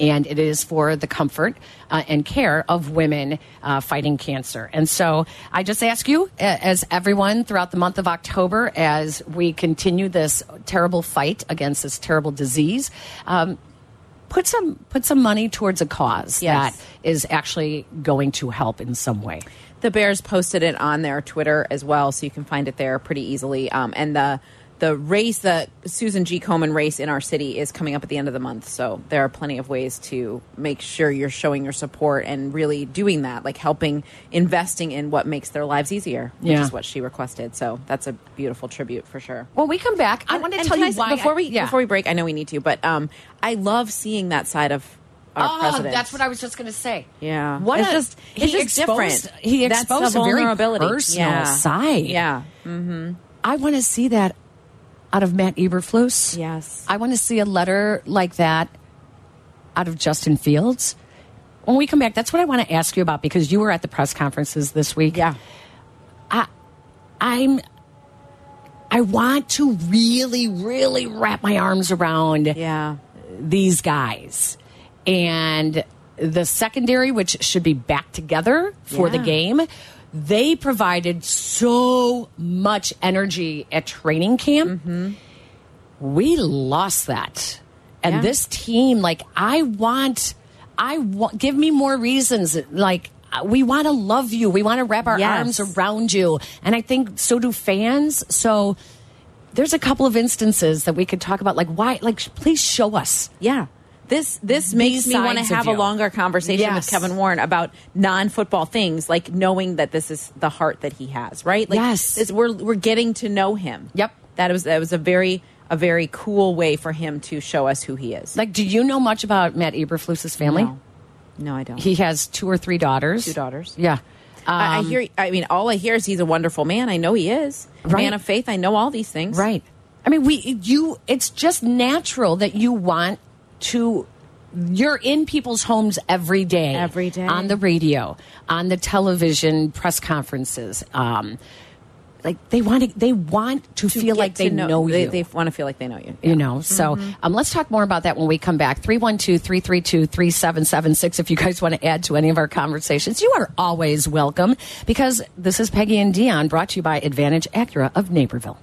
Speaker 4: And it is for the comfort uh, and care of women uh, fighting cancer. And so I just ask you, a- as everyone throughout the month of October, as we continue this terrible fight against this terrible disease, um, put some put some money towards a cause
Speaker 5: Yes.
Speaker 4: that is actually going to help in some way.
Speaker 5: the Bears posted it on their Twitter as well, so you can find it there pretty easily. Um, and the the race, the Susan G. Komen race in our city, is coming up at the end of the month. So there are plenty of ways to make sure you're showing your support and really doing that, like helping, investing in what makes their lives easier, which
Speaker 4: Yeah.
Speaker 5: is what she requested. So that's a beautiful tribute for sure.
Speaker 4: When we come back, I want to
Speaker 5: And
Speaker 4: tell
Speaker 5: can I
Speaker 4: you
Speaker 5: s-
Speaker 4: why
Speaker 5: before
Speaker 4: I-
Speaker 5: we
Speaker 4: yeah.
Speaker 5: before we break. I know we need to, but um, I love seeing that side of our
Speaker 4: Oh,
Speaker 5: president.
Speaker 4: that's what I was just going to say.
Speaker 5: Yeah.
Speaker 4: what
Speaker 5: It's
Speaker 4: a-
Speaker 5: just-
Speaker 4: he
Speaker 5: it's just
Speaker 4: exposed-
Speaker 5: different.
Speaker 4: He
Speaker 5: That's
Speaker 4: exposed
Speaker 5: the
Speaker 4: a very
Speaker 5: vulnerability.
Speaker 4: personal
Speaker 5: Yeah.
Speaker 4: side.
Speaker 5: Yeah.
Speaker 4: I want to see that out of Matt Eberflus.
Speaker 5: Yes.
Speaker 4: I want to see a letter like that out of Justin Fields. When we come back, that's what I want to ask you about because you were at the press conferences this week.
Speaker 5: Yeah.
Speaker 4: I'm I want to really, really wrap my arms around
Speaker 5: Yeah.
Speaker 4: these guys. And the secondary, which should be back together for the
Speaker 5: Yeah.
Speaker 4: game, they provided so much energy at training camp.
Speaker 5: Mm-hmm.
Speaker 4: We lost that. And
Speaker 5: Yeah.
Speaker 4: this team, like, I want, I want, give me more reasons. Like, we want to love you. We want to wrap our
Speaker 5: Yes.
Speaker 4: arms around you. And I think so do fans. So there's a couple of instances that we could talk about. Like, why, like, sh- please show us.
Speaker 5: Yeah. This this makes me want
Speaker 4: sides
Speaker 5: to
Speaker 4: of
Speaker 5: have a
Speaker 4: you.
Speaker 5: longer conversation
Speaker 4: Yes.
Speaker 5: with Kevin Warren about non-football things, like knowing that this is the heart that he has, right? Like
Speaker 4: Yes.
Speaker 5: this, we're we're getting to know him.
Speaker 4: Yep.
Speaker 5: That was that was a very a very cool way for him to show us who he is.
Speaker 4: Like, do you know much about Matt Eberflus's family?
Speaker 5: no, no, I don't.
Speaker 4: He has two or three daughters.
Speaker 5: Two daughters.
Speaker 4: Yeah.
Speaker 5: I, I
Speaker 4: Um,
Speaker 5: hear. I mean, all I hear is he's a wonderful man. I know he is
Speaker 4: Right.
Speaker 5: man of faith. I know all these things.
Speaker 4: Right. I mean, we you. It's just natural that you want to. You're in people's homes every day,
Speaker 5: Every day.
Speaker 4: on the radio, on the television, press conferences. Um, like they want to, they want to,
Speaker 5: To
Speaker 4: feel
Speaker 5: get
Speaker 4: like they
Speaker 5: to
Speaker 4: know, you.
Speaker 5: They, they want to feel like they know you.
Speaker 4: you know so um, let's talk more about that when we come back 312-332-3776 if you guys want to add to any of our conversations you are always welcome because this is peggy and dion brought to you by advantage acura of naperville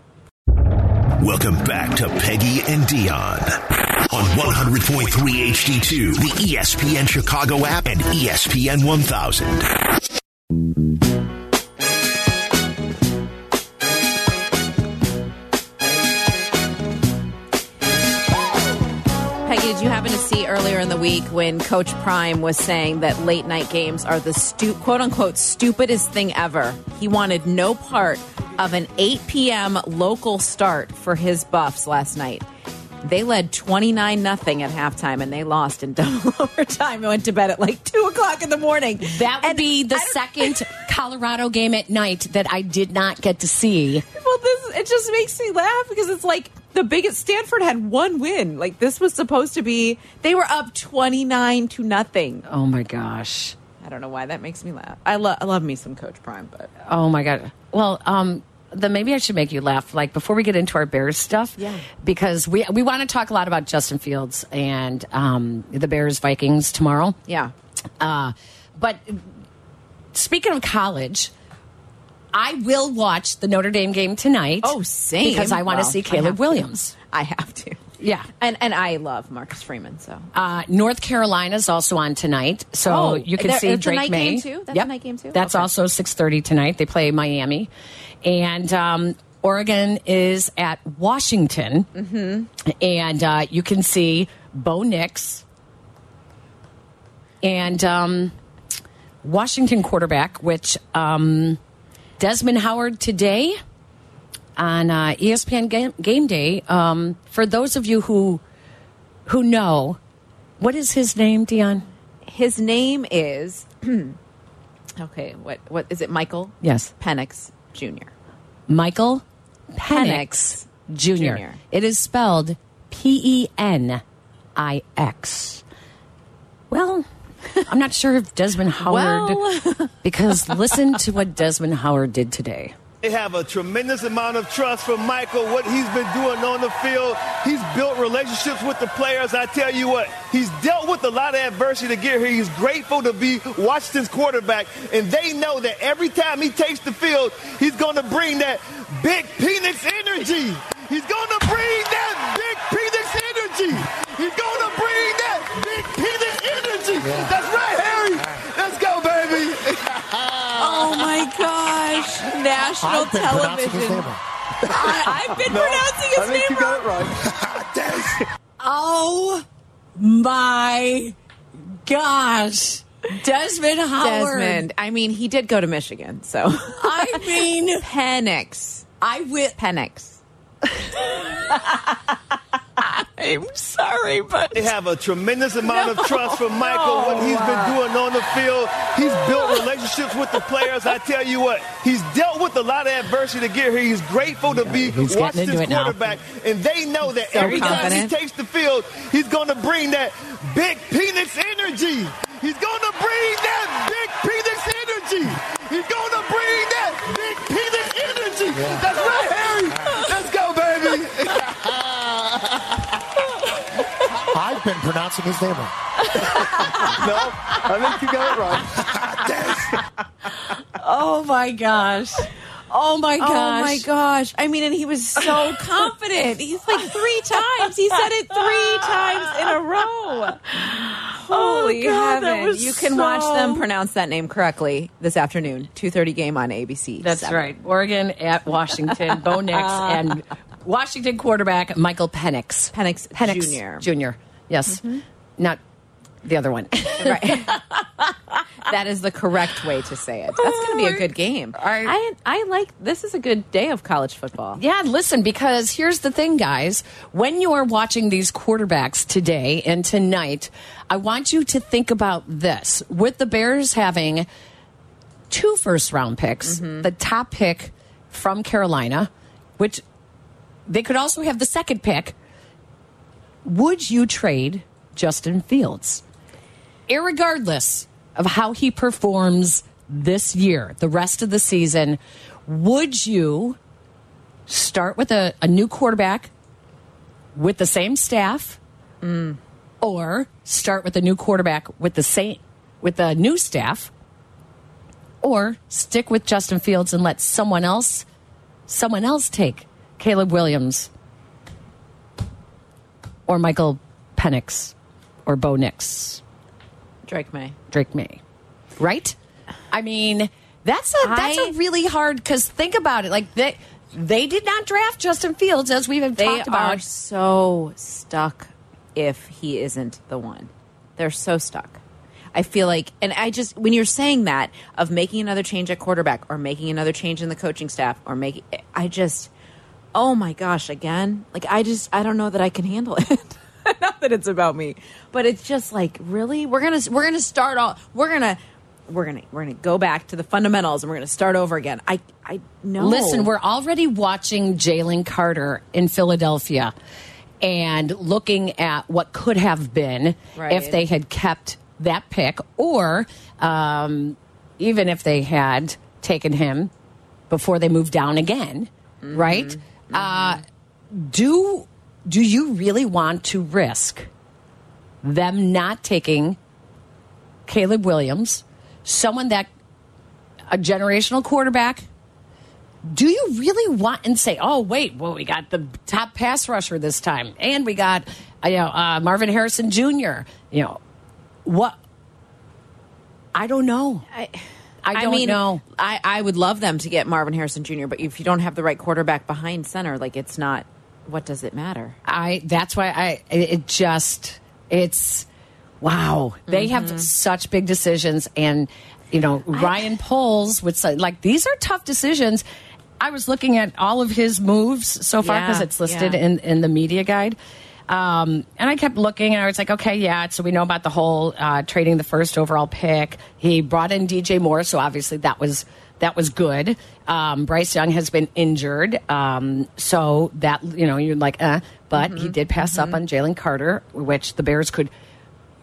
Speaker 2: Welcome back to Peggy and Dion on 100.3 HD2, the E ESPN Chicago app, and E ESPN 1000.
Speaker 5: Peggy, did you happen to see earlier in the week when Coach Prime was saying that late night games are the stu- quote unquote stupidest thing ever? He wanted no part of an 8 p.m. local start for his Buffs last night. They led 29 0 at halftime and they lost in double overtime and went to bed at like 2 o'clock in the morning.
Speaker 4: that would
Speaker 5: And
Speaker 4: be the
Speaker 5: I don't-
Speaker 4: second colorado game at night that i did not get to see
Speaker 5: Well, this it just makes me laugh because it's like the biggest Stanford had one win. Like this was supposed to be they were up 29 to nothing.
Speaker 4: oh my gosh
Speaker 5: I don't know why that makes me laugh. I love I love me some Coach Prime, but
Speaker 4: Oh my god. Well, um then maybe I should make you laugh. Like before we get into our Bears stuff,
Speaker 5: Yeah.
Speaker 4: Because we we want to talk a lot about Justin Fields and um, the Bears Vikings tomorrow.
Speaker 5: yeah,
Speaker 4: Uh, but speaking of college, I will watch the Notre Dame game tonight.
Speaker 5: Oh, same.
Speaker 4: because I want to
Speaker 5: Well,
Speaker 4: see
Speaker 5: I have
Speaker 4: Caleb
Speaker 5: to.
Speaker 4: Williams.
Speaker 5: I have to.
Speaker 4: Yeah.
Speaker 5: and and I love Marcus Freeman. So
Speaker 4: Uh, North Carolina's also on tonight, so
Speaker 5: Oh,
Speaker 4: you can
Speaker 5: that-
Speaker 4: see
Speaker 5: it's a
Speaker 4: Drake
Speaker 5: night
Speaker 4: May.
Speaker 5: game, too? That's a night game, too?
Speaker 4: That's
Speaker 5: Okay.
Speaker 4: also six thirty tonight. They play Miami, and um, Oregon is at Washington,
Speaker 5: Mm-hmm.
Speaker 4: and uh, you can see Bo Nix and um, Washington quarterback, which um, Desmond Howard today on uh, ESPN game, game Day. Um, for those of you who who know, what is his name, Dion?
Speaker 5: his name is okay. What what is it? Michael
Speaker 4: Yes.
Speaker 5: Penix Jr.
Speaker 4: Michael
Speaker 5: Penix
Speaker 4: Penix, Jr.
Speaker 5: Jr..
Speaker 4: It is spelled P E N I X. Well, I'm not sure if Desmond Howard, because listen to what Desmond Howard did today.
Speaker 8: They have a tremendous amount of trust from Michael, what he's been doing on the field. He's built relationships with the players. I tell you what, he's dealt with a lot of adversity to get here. He's grateful to be Washington's quarterback, and they know that every time he takes the field, he's going to bring that big penis energy. He's going to bring that big penis energy. He's going to bring that big penis energy. That's right, Harry. Let's go, baby.
Speaker 5: Oh my gosh! National
Speaker 9: I've been pronouncing his
Speaker 5: television.
Speaker 9: name wrong.
Speaker 5: I, have been pronouncing his name wrong.
Speaker 8: it right.
Speaker 4: Oh my gosh, Desmond Howard.
Speaker 5: Desmond. I mean, he did go to Michigan, so
Speaker 4: I mean,
Speaker 5: Penix.
Speaker 4: I will.
Speaker 5: Penix. I'm sorry, but
Speaker 8: They have a tremendous amount of trust from Michael, what he's been doing on the field. He's built relationships with the players. I tell you what, he's dealt with a lot of adversity to get here. He's grateful to be
Speaker 4: he's getting
Speaker 8: watched
Speaker 4: into
Speaker 8: this
Speaker 4: it now.
Speaker 8: quarterback. And they know that
Speaker 5: So
Speaker 8: every time he
Speaker 5: confident.
Speaker 8: takes the field, he's going to bring that big penis energy. He's going to bring that big penis energy. He's going to bring that big penis energy. That's right, Harry. Let's go, baby.
Speaker 9: I've been pronouncing his name wrong.
Speaker 8: no, I think you got it right.
Speaker 4: Oh my gosh. Oh my gosh.
Speaker 5: Oh my gosh. I mean, and he was so confident. He's like three times. He said it three times in a row. Holy
Speaker 4: Oh, God, that
Speaker 5: heaven.
Speaker 4: was
Speaker 5: You can
Speaker 4: so-
Speaker 5: watch them pronounce that name correctly this afternoon. 2.30 game on ABC.
Speaker 4: That's
Speaker 5: Seven.
Speaker 4: right. Oregon at Washington. Bo Nix and Washington quarterback Michael Penix.
Speaker 5: Penix Jr..
Speaker 4: Penix Jr. Yes. Not the other one.
Speaker 5: Right. that is the correct way to say it. That's going to be a good game. Oh, I, I like this is a good day of college football.
Speaker 4: Yeah, listen, because here's the thing, guys. When you are watching these quarterbacks today and tonight, I want you to think about this. With the Bears having two first round picks, the top pick from Carolina, which they could also have the second pick, would you trade Justin Fields? irregardless of how he performs this year, the rest of the season, would you start with a, a new quarterback with the same staff or start with a new quarterback with the same with a new staff or stick with Justin Fields and let someone else someone else take Caleb Williams or Michael Penix or Bo Nix?
Speaker 5: Drake May.
Speaker 4: Drake May, right? I mean, that's a that's
Speaker 5: I-
Speaker 4: a really hard because think about it. Like they they did not draft Justin Fields as we've
Speaker 5: They
Speaker 4: talked
Speaker 5: are
Speaker 4: about.
Speaker 5: so stuck if he isn't the one. They're so stuck. I feel like, and I just, when you're saying that, of making another change at quarterback or making another change in the coaching staff or making, I just, oh my gosh, again, like I just, I don't know that I can handle it. Not that it's about me, but it's just like, really? We're going to, we're going to start all, we're going to, we're gonna we're gonna go back to the fundamentals and we're gonna start over again. I I know.
Speaker 4: Listen, we're already watching Jalen Carter in Philadelphia and looking at what could have been if
Speaker 5: Right.
Speaker 4: they had kept that pick, or um, even if they had taken him before they moved down again, right? Uh, do do you really want to risk them not taking Caleb Williams, someone that a generational quarterback? Do you really want and say, "Oh, wait, well, we got the top pass rusher this time, and we got uh, you know uh, Marvin Harrison Jr." You know what? I don't know. I, don't
Speaker 5: mean,
Speaker 4: know.
Speaker 5: I, I would love them to get Marvin Harrison Jr., but if you don't have the right quarterback behind center, like it's not, what does it matter?
Speaker 4: I that's why I it it just it's wow. They
Speaker 5: Mm-hmm.
Speaker 4: have such big decisions and you know Ryan Poles would say like these are tough decisions. I was looking at all of his moves so far
Speaker 5: Yeah,
Speaker 4: because it's listed
Speaker 5: yeah.
Speaker 4: in in the media guide. Um, and I kept looking, and I was like, okay, yeah. So we know about the whole uh, trading the first overall pick. He brought in DJ Moore, so obviously that was that was good. Um, Bryce Young has been injured, um, so that you know you're like, uh, but he did pass up on Jalen Carter, which the Bears could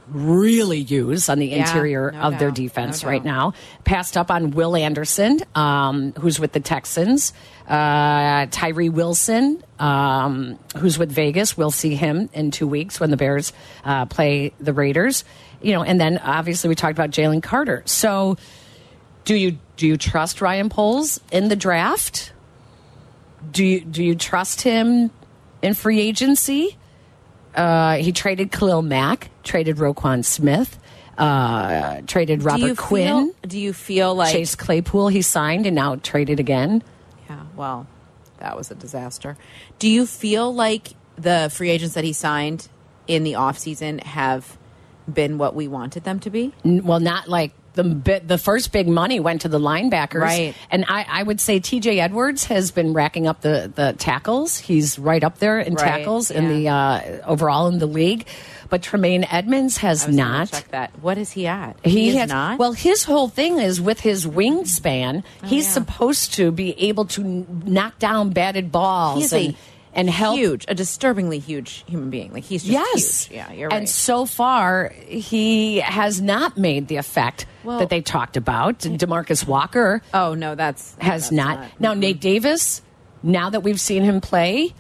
Speaker 4: really use on the interior
Speaker 5: no
Speaker 4: of their
Speaker 5: doubt,
Speaker 4: defense
Speaker 5: no
Speaker 4: right
Speaker 5: doubt.
Speaker 4: now. Passed up on Will Anderson, um, who's with the Texans. Uh, Tyree Wilson, um, who's with Vegas. We'll see him in two weeks when the Bears
Speaker 5: Mm-hmm.
Speaker 4: uh, play the Raiders. uh, You know, and then obviously we talked about Jalen Carter. So, do you do you trust Ryan Poles in the draft? Do you do you trust him in free agency? Uh, he traded Khalil Mack, traded Roquan Smith, uh, traded Robert
Speaker 5: do you Feel,
Speaker 4: Quinn,
Speaker 5: do you feel like,
Speaker 4: Chase Claypool. He signed and now traded again.
Speaker 5: yeah, well, that was a disaster. Do you feel like the free agents that he signed in the offseason have been what we wanted them to be?
Speaker 4: N- Well, not like the bi- the first big money went to the linebackers,
Speaker 5: Right.
Speaker 4: And I, I would say T.J. Edwards has been racking up the the tackles. He's right up there in
Speaker 5: Right,
Speaker 4: tackles in
Speaker 5: yeah.
Speaker 4: the uh, overall in the league, but Tremaine Edmonds has
Speaker 5: was gonna
Speaker 4: not.
Speaker 5: check that. What is he at?
Speaker 4: He,
Speaker 5: is
Speaker 4: has
Speaker 5: not. Oh,
Speaker 4: Well, his whole thing is with his wingspan, he's
Speaker 5: yeah.
Speaker 4: supposed to be able to n- knock down batted balls
Speaker 5: He is
Speaker 4: and,
Speaker 5: a
Speaker 4: and help.
Speaker 5: huge, a disturbingly huge human being. Like he's just
Speaker 4: Yes.
Speaker 5: huge. Yeah, you're right.
Speaker 4: And so far, he has not made the effect
Speaker 5: Well-
Speaker 4: that they talked about. Demarcus Walker
Speaker 5: oh no, that's
Speaker 4: has
Speaker 5: that's Mm-hmm.
Speaker 4: not. Now, Nate Davis, now that we've seen him play,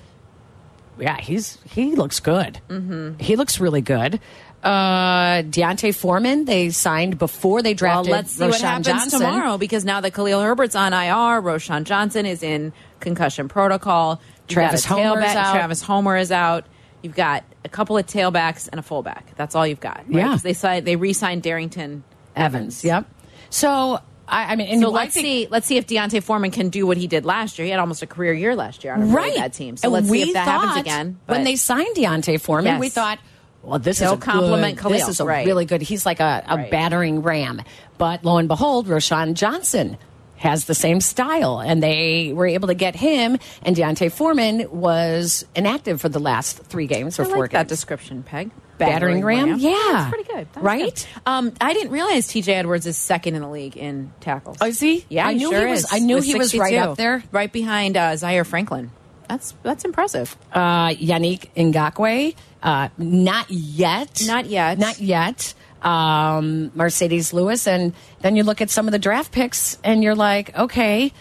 Speaker 4: yeah, he's he looks good. Mm-hmm. He looks really good. Uh, Deontay Foreman, they signed before they
Speaker 5: Well,
Speaker 4: drafted.
Speaker 5: let's see
Speaker 4: Roshan
Speaker 5: what happens
Speaker 4: Johnson.
Speaker 5: tomorrow because now that Khalil Herbert's on IR, Roshan Johnson is in concussion protocol. You've
Speaker 4: Travis
Speaker 5: got a
Speaker 4: Homer is
Speaker 5: tailback-
Speaker 4: out.
Speaker 5: Travis Homer is out. You've got a couple of tailbacks and a fullback. That's all you've got. right?
Speaker 4: Yeah.
Speaker 5: 'Cause they signed. They re-signed Darrington
Speaker 4: Evans. Yep. So I, I mean, and
Speaker 5: So
Speaker 4: I
Speaker 5: let's
Speaker 4: think-
Speaker 5: see. Let's see if Deontay Foreman can do what he did last year. He had almost a career year last year on a really
Speaker 4: right
Speaker 5: bad team. So
Speaker 4: And
Speaker 5: let's
Speaker 4: we
Speaker 5: see if that happens
Speaker 4: thought
Speaker 5: again.
Speaker 4: When
Speaker 5: But-
Speaker 4: they signed Deontay Foreman,
Speaker 5: Yes.
Speaker 4: we thought, well, this is
Speaker 5: He'll
Speaker 4: a
Speaker 5: compliment
Speaker 4: good, This
Speaker 5: Khalil,
Speaker 4: is a
Speaker 5: right.
Speaker 4: really good. He's like a, a
Speaker 5: Right.
Speaker 4: battering ram. But lo and behold, Roshan Johnson has the same style, and they were able to get him. And Deontay Foreman was inactive for the last three games or
Speaker 5: I
Speaker 4: four
Speaker 5: like
Speaker 4: games.
Speaker 5: that description, Peg.
Speaker 4: Battering ram? Yeah.
Speaker 5: that's pretty good. That was
Speaker 4: Right?
Speaker 5: good. Um, I didn't realize T.J. Edwards is second in the league in tackles.
Speaker 4: Oh, is he?
Speaker 5: Yeah,
Speaker 4: I knew
Speaker 5: sure
Speaker 4: he was-
Speaker 5: is,
Speaker 4: I knew
Speaker 5: with
Speaker 4: he was right
Speaker 5: 62,
Speaker 4: up there.
Speaker 5: right behind uh, Zaire Franklin. That's that's impressive.
Speaker 4: uh, Yannick Ngakwe. Uh, not yet.
Speaker 5: Not yet.
Speaker 4: Not yet. Um, Mercedes Lewis. And then you look at some of the draft picks and you're like, okay,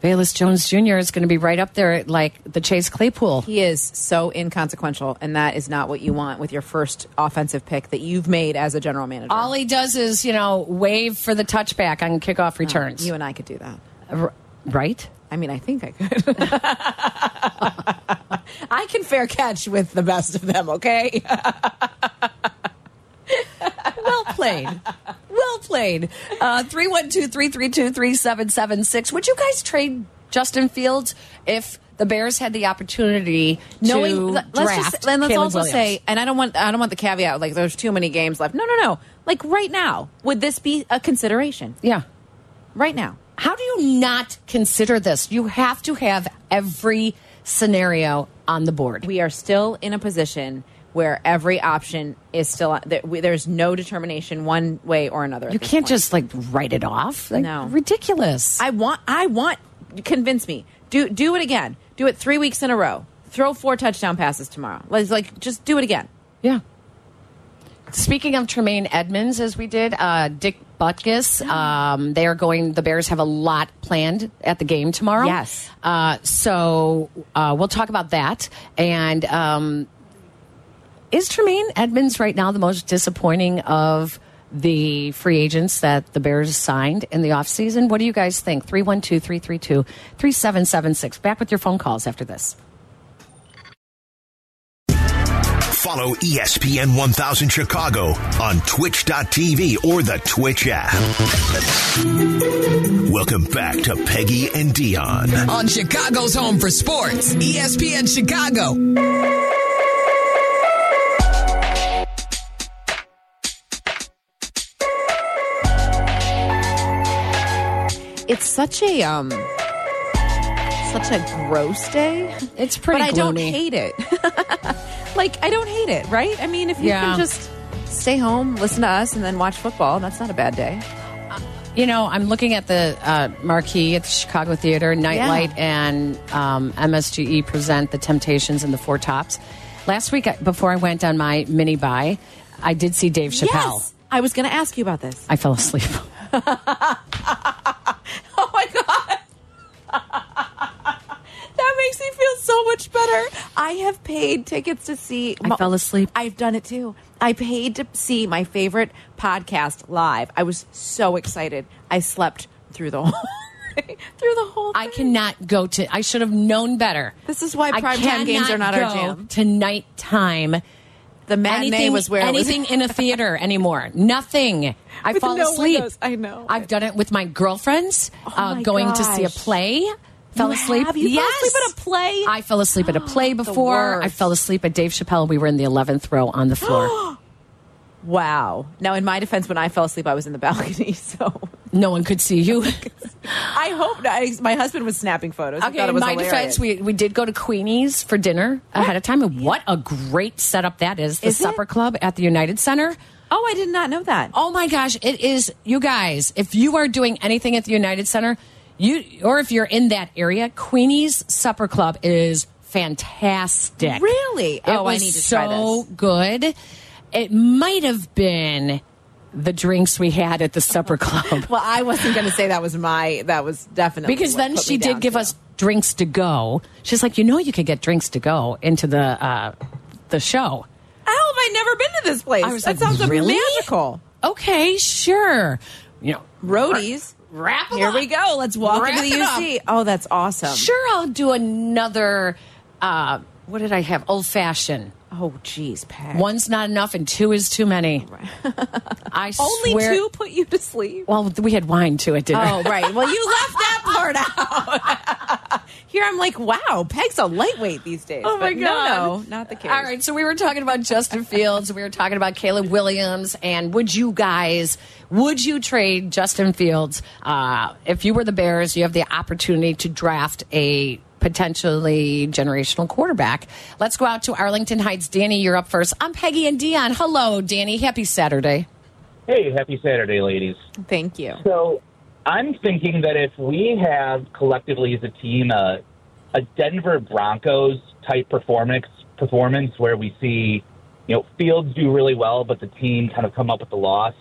Speaker 4: Bayless Jones Jr. is going to be right up there at like the Chase Claypool.
Speaker 5: He is so inconsequential, and that is not what you want with your first offensive pick that you've made as a general manager.
Speaker 4: All he does is, you know, wave for the touchback on kickoff
Speaker 5: Uh,
Speaker 4: returns.
Speaker 5: you and I could do that.
Speaker 4: R- right?
Speaker 5: I mean, I think I could. I can fair catch with the best of them, okay?
Speaker 4: well played. Well played. Uh, 312-332-3776. Would you guys trade Justin Fields if the Bears had the opportunity to
Speaker 5: Knowing,
Speaker 4: draft
Speaker 5: let- let's just and let's
Speaker 4: Caleb
Speaker 5: also
Speaker 4: Williams?
Speaker 5: say, and I don't want, I don't want the caveat like there's too many games left. No, no, no. Like right now, would this be a consideration?
Speaker 4: Yeah.
Speaker 5: Right now,
Speaker 4: How do you not consider this? You have to have every scenario on the board.
Speaker 5: we are still in a position where every option is still there, we, there's no determination one way or another. at
Speaker 4: you
Speaker 5: this
Speaker 4: can't
Speaker 5: point.
Speaker 4: just like write it off. Like,
Speaker 5: No.
Speaker 4: Ridiculous.
Speaker 5: I want. I want. Convince me. Do do it again. Do it three weeks in a row. Throw four touchdown passes tomorrow. Let's like just do it again.
Speaker 4: Yeah. Speaking of Tremaine Edmonds, as we did, uh, Dick Butkus, um, they are going, the Bears have a lot planned at the game tomorrow.
Speaker 5: Yes.
Speaker 4: Uh, so uh, we'll talk about that. And um, is Tremaine Edmonds right now the most disappointing of the free agents that the Bears signed in the offseason? What do you guys think? 312 332 3776. Back with your phone calls after this.
Speaker 2: Follow E ESPN 1000 Chicago on twitch.tv or the Twitch app. Welcome back to Peggy and Dion
Speaker 10: On Chicago's Home for Sports, ESPN Chicago.
Speaker 5: It's such a um, such a gross day.
Speaker 4: It's pretty
Speaker 5: But I don't
Speaker 4: gloomy.
Speaker 5: hate it. like I don't hate it, right? I mean, if you
Speaker 4: Yeah.
Speaker 5: can just stay home, listen to us, and then watch football, that's not a bad day.
Speaker 4: You know, I'm looking at the uh, marquee at the Chicago Theater. Nightlight and um, MSGE present The Temptations and the Four Tops. Last week, I- before I went on my mini buy, I did see Dave Chappelle.
Speaker 5: Yes, I was going to ask you about this.
Speaker 4: I fell asleep.
Speaker 5: Oh my god. That makes me feel so much better. I have paid tickets to see.
Speaker 4: I fell asleep.
Speaker 5: I've done it too. I paid to see my favorite podcast live. I was so excited. I slept through the whole thing- through the whole.
Speaker 4: I
Speaker 5: thing.
Speaker 4: cannot go to. I should have known better.
Speaker 5: This is why
Speaker 4: I
Speaker 5: primetime games are not
Speaker 4: cannot
Speaker 5: our
Speaker 4: go
Speaker 5: jam.
Speaker 4: To nighttime,
Speaker 5: The matinee
Speaker 4: anything
Speaker 5: was where it was-
Speaker 4: anything in a theater anymore. Nothing. I
Speaker 5: With
Speaker 4: fall
Speaker 5: no
Speaker 4: asleep.
Speaker 5: windows, I know.
Speaker 4: I've done it with my girlfriends. uh,
Speaker 5: my
Speaker 4: going to see a
Speaker 5: gosh.
Speaker 4: play. Fell
Speaker 5: You
Speaker 4: asleep.
Speaker 5: have? You fell
Speaker 4: yes.
Speaker 5: asleep at a play?
Speaker 4: I fell asleep at a play before. I
Speaker 5: worst.
Speaker 4: fell asleep at Dave Chappelle. We were in the eleventh row on the floor.
Speaker 5: Wow. Now, in my defense, when I fell asleep, I was in the balcony, so
Speaker 6: No one could see you.
Speaker 5: I hope not. I, my husband was snapping photos. I
Speaker 6: Okay,
Speaker 5: thought it
Speaker 6: in
Speaker 5: was
Speaker 6: my
Speaker 5: hilarious.
Speaker 6: defense, we, we did go to Queenie's for dinner ahead of time, and what a great setup that is. The
Speaker 5: Is it?
Speaker 6: supper club at the United Center.
Speaker 5: Oh, I did not know that.
Speaker 6: Oh my gosh, it is you guys, if you are doing anything at the United Center, you or if you're in that area, Queenie's Supper Club is fantastic.
Speaker 5: Really?
Speaker 6: It
Speaker 5: Oh, I
Speaker 6: was
Speaker 5: need to
Speaker 6: so
Speaker 5: try
Speaker 6: good. It might have been the drinks we had at the supper club.
Speaker 5: Well, I wasn't going to say that was my. That was definitely
Speaker 6: because
Speaker 5: what
Speaker 6: then
Speaker 5: put
Speaker 6: she
Speaker 5: me
Speaker 6: did
Speaker 5: down,
Speaker 6: give
Speaker 5: too.
Speaker 6: us drinks to go. She's like, you know, you could get drinks to go into the uh, the show.
Speaker 5: How have I never been to this place?
Speaker 6: I was
Speaker 5: that
Speaker 6: like,
Speaker 5: sounds
Speaker 6: really?
Speaker 5: magical.
Speaker 6: Okay, sure. You know,
Speaker 5: Roadies.
Speaker 6: wrap 'em
Speaker 5: Here
Speaker 6: up.
Speaker 5: we go. Let's walk
Speaker 6: Wrap
Speaker 5: into the
Speaker 6: it up.
Speaker 5: UC. Oh, that's awesome.
Speaker 6: Sure, I'll do another. Uh, what did I have? Old fashioned.
Speaker 5: Oh, jeez, Pat.
Speaker 6: One's not enough, and two is too many. I
Speaker 5: only
Speaker 6: swear-
Speaker 5: two put you to sleep.
Speaker 6: Well, we had wine too at dinner.
Speaker 5: Oh, right. Well, you left that part out. Here, I'm like, wow, Peg's a lightweight these days.
Speaker 6: Oh my
Speaker 5: But No,
Speaker 6: god!
Speaker 5: no, not the case.
Speaker 6: All right, so we were talking about Justin Fields, we were talking about Caleb Williams, and would you guys would you trade Justin Fields uh, if you were the Bears? You have the opportunity to draft a potentially generational quarterback. Let's go out to Arlington Heights. Danny, you're up first. I'm Peggy and Dion. Hello, Danny. Happy Saturday.
Speaker 11: Hey, happy Saturday, ladies.
Speaker 5: Thank you.
Speaker 11: So I'm thinking that if we have collectively as a team a, a Denver Broncos type performance performance where we see you know Fields do really well, but the team kind of come up with the loss.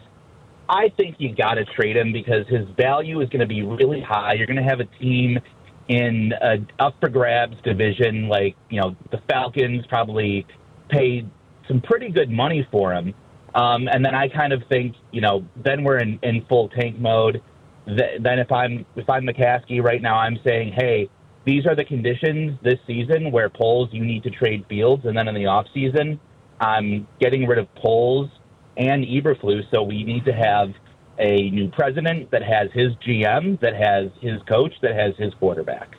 Speaker 11: I think you got to trade him because his value is going to be really high. You're going to have a team in a up for grabs division like you know the Falcons probably paid some pretty good money for him. Um, and then I kind of think, you know, then we're in, in full tank mode. Th- then if I'm if I'm McCaskey right now, I'm saying, hey, these are the conditions this season where polls you need to trade Fields, and then in the off season, I'm getting rid of polls and Eberflus. So we need to have a new president that has his GM, that has his coach, that has his quarterback.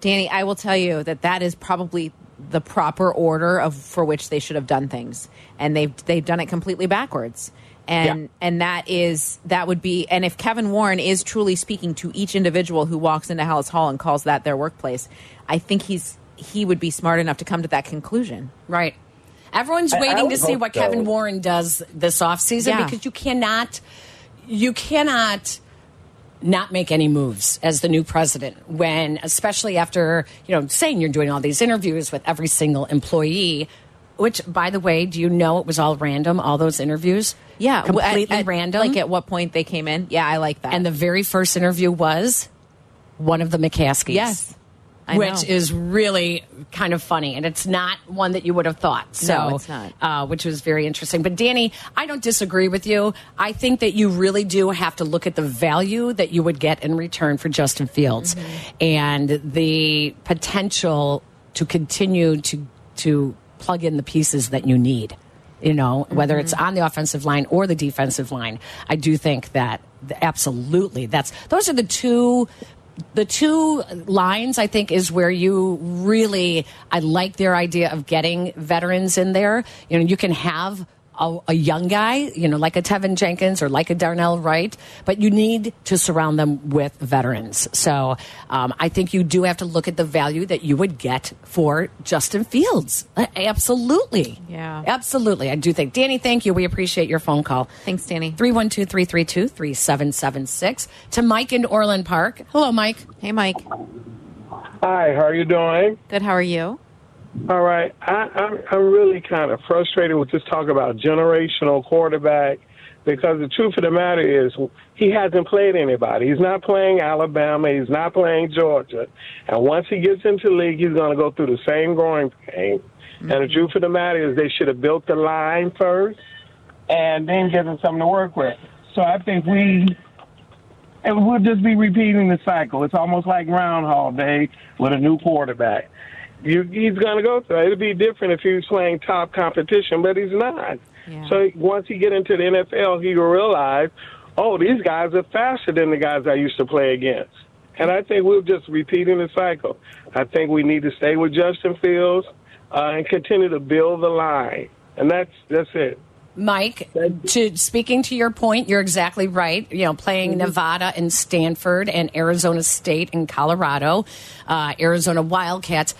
Speaker 5: Danny, I will tell you that that is probably the proper order of for which they should have done things, and they've they've done it completely backwards. And and that is that would be and if Kevin Warren is truly speaking to each individual who walks into Hallis Hall and calls that their workplace, I think he's he would be smart enough to come to that conclusion.
Speaker 6: Right. Everyone's
Speaker 11: I
Speaker 6: waiting
Speaker 11: would
Speaker 6: to see
Speaker 11: hope
Speaker 6: what
Speaker 11: so.
Speaker 6: Kevin Warren does this offseason
Speaker 5: Yeah.
Speaker 6: because you cannot you cannot not make any moves as the new president when especially after, you know, saying you're doing all these interviews with every single employee, which by the way, do you know it was all random all those interviews?
Speaker 5: Yeah, w- at-
Speaker 6: Completely
Speaker 5: at-
Speaker 6: random.
Speaker 5: Like at what point they came in? Yeah, I like that.
Speaker 6: and the very first interview was one of the McCaskies
Speaker 5: yes, I
Speaker 6: which
Speaker 5: know.
Speaker 6: is really kind of funny, and it's not one that you would have thought. So,
Speaker 5: No, it's not.
Speaker 6: Uh, which was very interesting. But Danny, I don't disagree with you. I think that you really do have to look at the value that you would get in return for Justin Fields
Speaker 5: Mm-hmm.
Speaker 6: and the potential to continue to to plug in the pieces that you need. You know, whether it's on the offensive line or the defensive line, I do think that th- absolutely that's those are the two the two lines i think is where you really i like their idea of getting veterans in there you know you can have a, a young guy you know like a tevin jenkins or like a darnell wright but you need to surround them with veterans so um, i think you do have to look at the value that you would get for justin fields Uh, absolutely
Speaker 5: Yeah.
Speaker 6: absolutely i do think danny thank you we appreciate your phone call
Speaker 5: Thanks, Danny.
Speaker 6: 312-332-3776 to mike in orland park hello mike
Speaker 5: hey, Mike.
Speaker 12: Hi, how are you doing?
Speaker 5: Good. How are you?
Speaker 12: All right, I, I'm I'm really kind of frustrated with this talk about generational quarterback because the truth of the matter is he hasn't played anybody. He's not playing Alabama. He's not playing Georgia. And once he gets into the league, he's going to go through the same growing pain. And the truth of the matter is they should have built the line first and then give him something to work with. So I think we and we'll just be repeating the cycle. It's almost like Groundhog Day with a new quarterback. You, he's going to go through. it. It'd be different if he was playing top competition, but he's not.
Speaker 5: Yeah.
Speaker 12: So once he get into the NFL, he will realize, oh, these guys are faster than the guys I used to play against. And I think we're just repeating the cycle. I think we need to stay with Justin Fields uh, and continue to build the line. And that's that's it.
Speaker 6: Mike, to speaking to your point, you're exactly right. You know, playing Nevada and Stanford and Arizona State and Colorado, uh, Arizona Wildcats.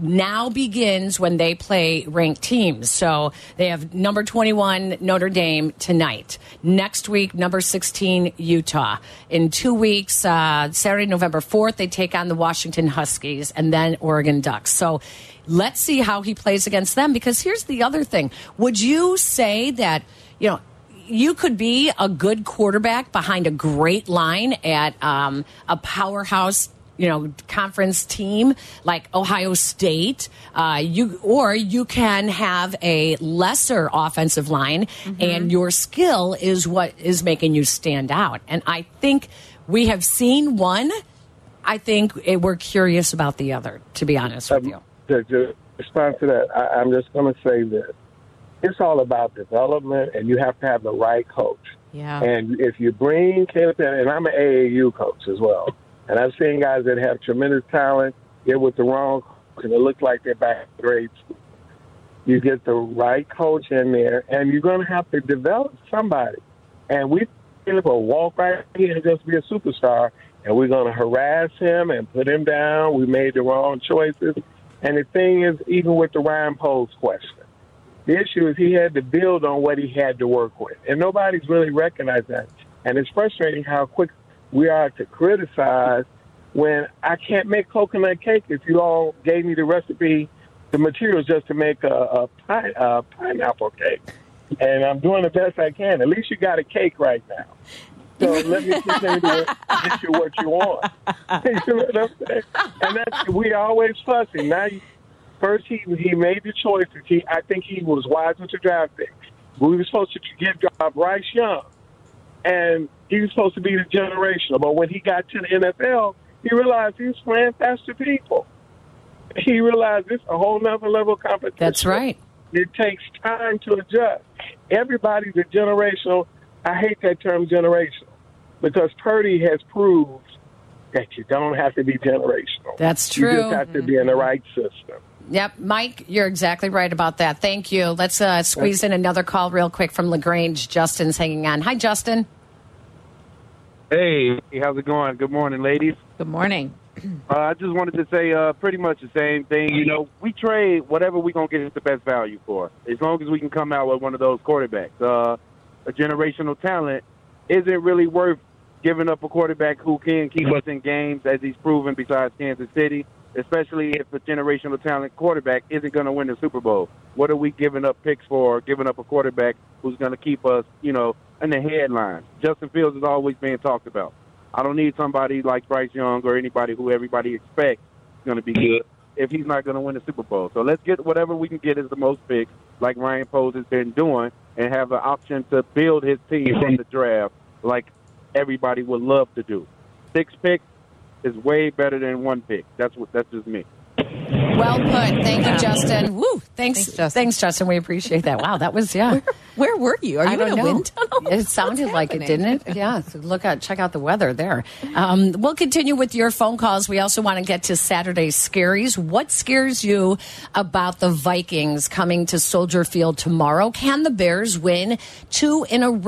Speaker 6: Now begins when they play ranked teams. So they have number 21 Notre Dame tonight. Next week, number 16 Utah. In two weeks, uh, Saturday, November 4th, they take on the Washington Huskies and then Oregon Ducks. So let's see how he plays against them because here's the other thing would you say that you know you could be a good quarterback behind a great line at um, a powerhouse you know conference team like ohio state uh, you or you can have a lesser offensive line and your skill is what is making you stand out and i think we have seen one i think it, we're curious about the other to be honest with you
Speaker 12: to, Um, to respond to that, I, I'm just going to say this. It's all about development, and you have to have the right coach.
Speaker 5: Yeah.
Speaker 12: And if you bring Caleb, in, and I'm an AAU coach as well, and I've seen guys that have tremendous talent, get with the wrong coach, and it looks like they're back in grade school. You get the right coach in there, and you're going to have to develop somebody. And we Caleb will walk right in and just be a superstar, and we're going to harass him and put him down. We made the wrong choices. And the thing is, even with the Ryan Poles question, the issue is he had to build on what he had to work with, and nobody's really recognized that. And it's frustrating how quick we are to criticize when I can't make coconut cake if you all gave me the recipe, the materials just to make a, a, pine, a pineapple cake. And I'm doing the best I can. At least you got a cake right now. So let me continue to get you what you want. you know what I'm saying? And that's we always fussing. Now, you- first he he made the choices. He I think he was wise with the draft pick. We were supposed to give job Bryce Young, and he was supposed to be the generational. But when he got to the NFL, he realized he was playing faster people. He realized this a whole nother level of competition.
Speaker 6: That's right.
Speaker 12: It takes time to adjust. Everybody's a generational. I hate that term generational because Purdy has proved that you don't have to be generational.
Speaker 6: That's
Speaker 12: You
Speaker 6: true.
Speaker 12: just have to be in the right system.
Speaker 6: Yep, Mike, you're exactly right about that. Thank you. Let's uh, squeeze in another call real quick from Lagrange. Justin's hanging on. Hi, Justin.
Speaker 4: Hey, how's it going? Good morning, ladies.
Speaker 5: Good morning.
Speaker 4: Uh, I just wanted to say uh, pretty much the same thing. You know, we trade whatever we're going to get is the best value for, as long as we can come out with one of those quarterbacks. Uh, a generational talent isn't really worth giving up a quarterback who can keep us in games, as he's proven besides Kansas City, especially if a generational talent quarterback isn't going to win the Super Bowl. What are we giving up picks for, giving up a quarterback who's going to keep us, you know, in the headlines? Justin Fields is always being talked about. I don't need somebody like Bryce Young or anybody who everybody expects is going to be good if he's not going to win the Super Bowl. So let's get whatever we can get as the most picks, like Ryan Poles has been doing, and have an option to build his team from the draft, like everybody would love to do. Six picks is way better than one pick. That's what. That's just me.
Speaker 6: Well put. Thank you, Justin. Woo. Thanks, Justin. Thanks, Justin. We appreciate that. Wow, that was yeah.
Speaker 5: Where, were you? Are you
Speaker 6: I don't
Speaker 5: in a
Speaker 6: know.
Speaker 5: wind tunnel?
Speaker 6: It sounded
Speaker 5: What's
Speaker 6: like it,
Speaker 5: happening?
Speaker 6: didn't it? Yeah. So look out. Check out the weather there. Um, we'll continue with your phone calls. We also want to get to Saturday's scaries. What scares you about the Vikings coming to Soldier Field tomorrow? Can the Bears win two in a row?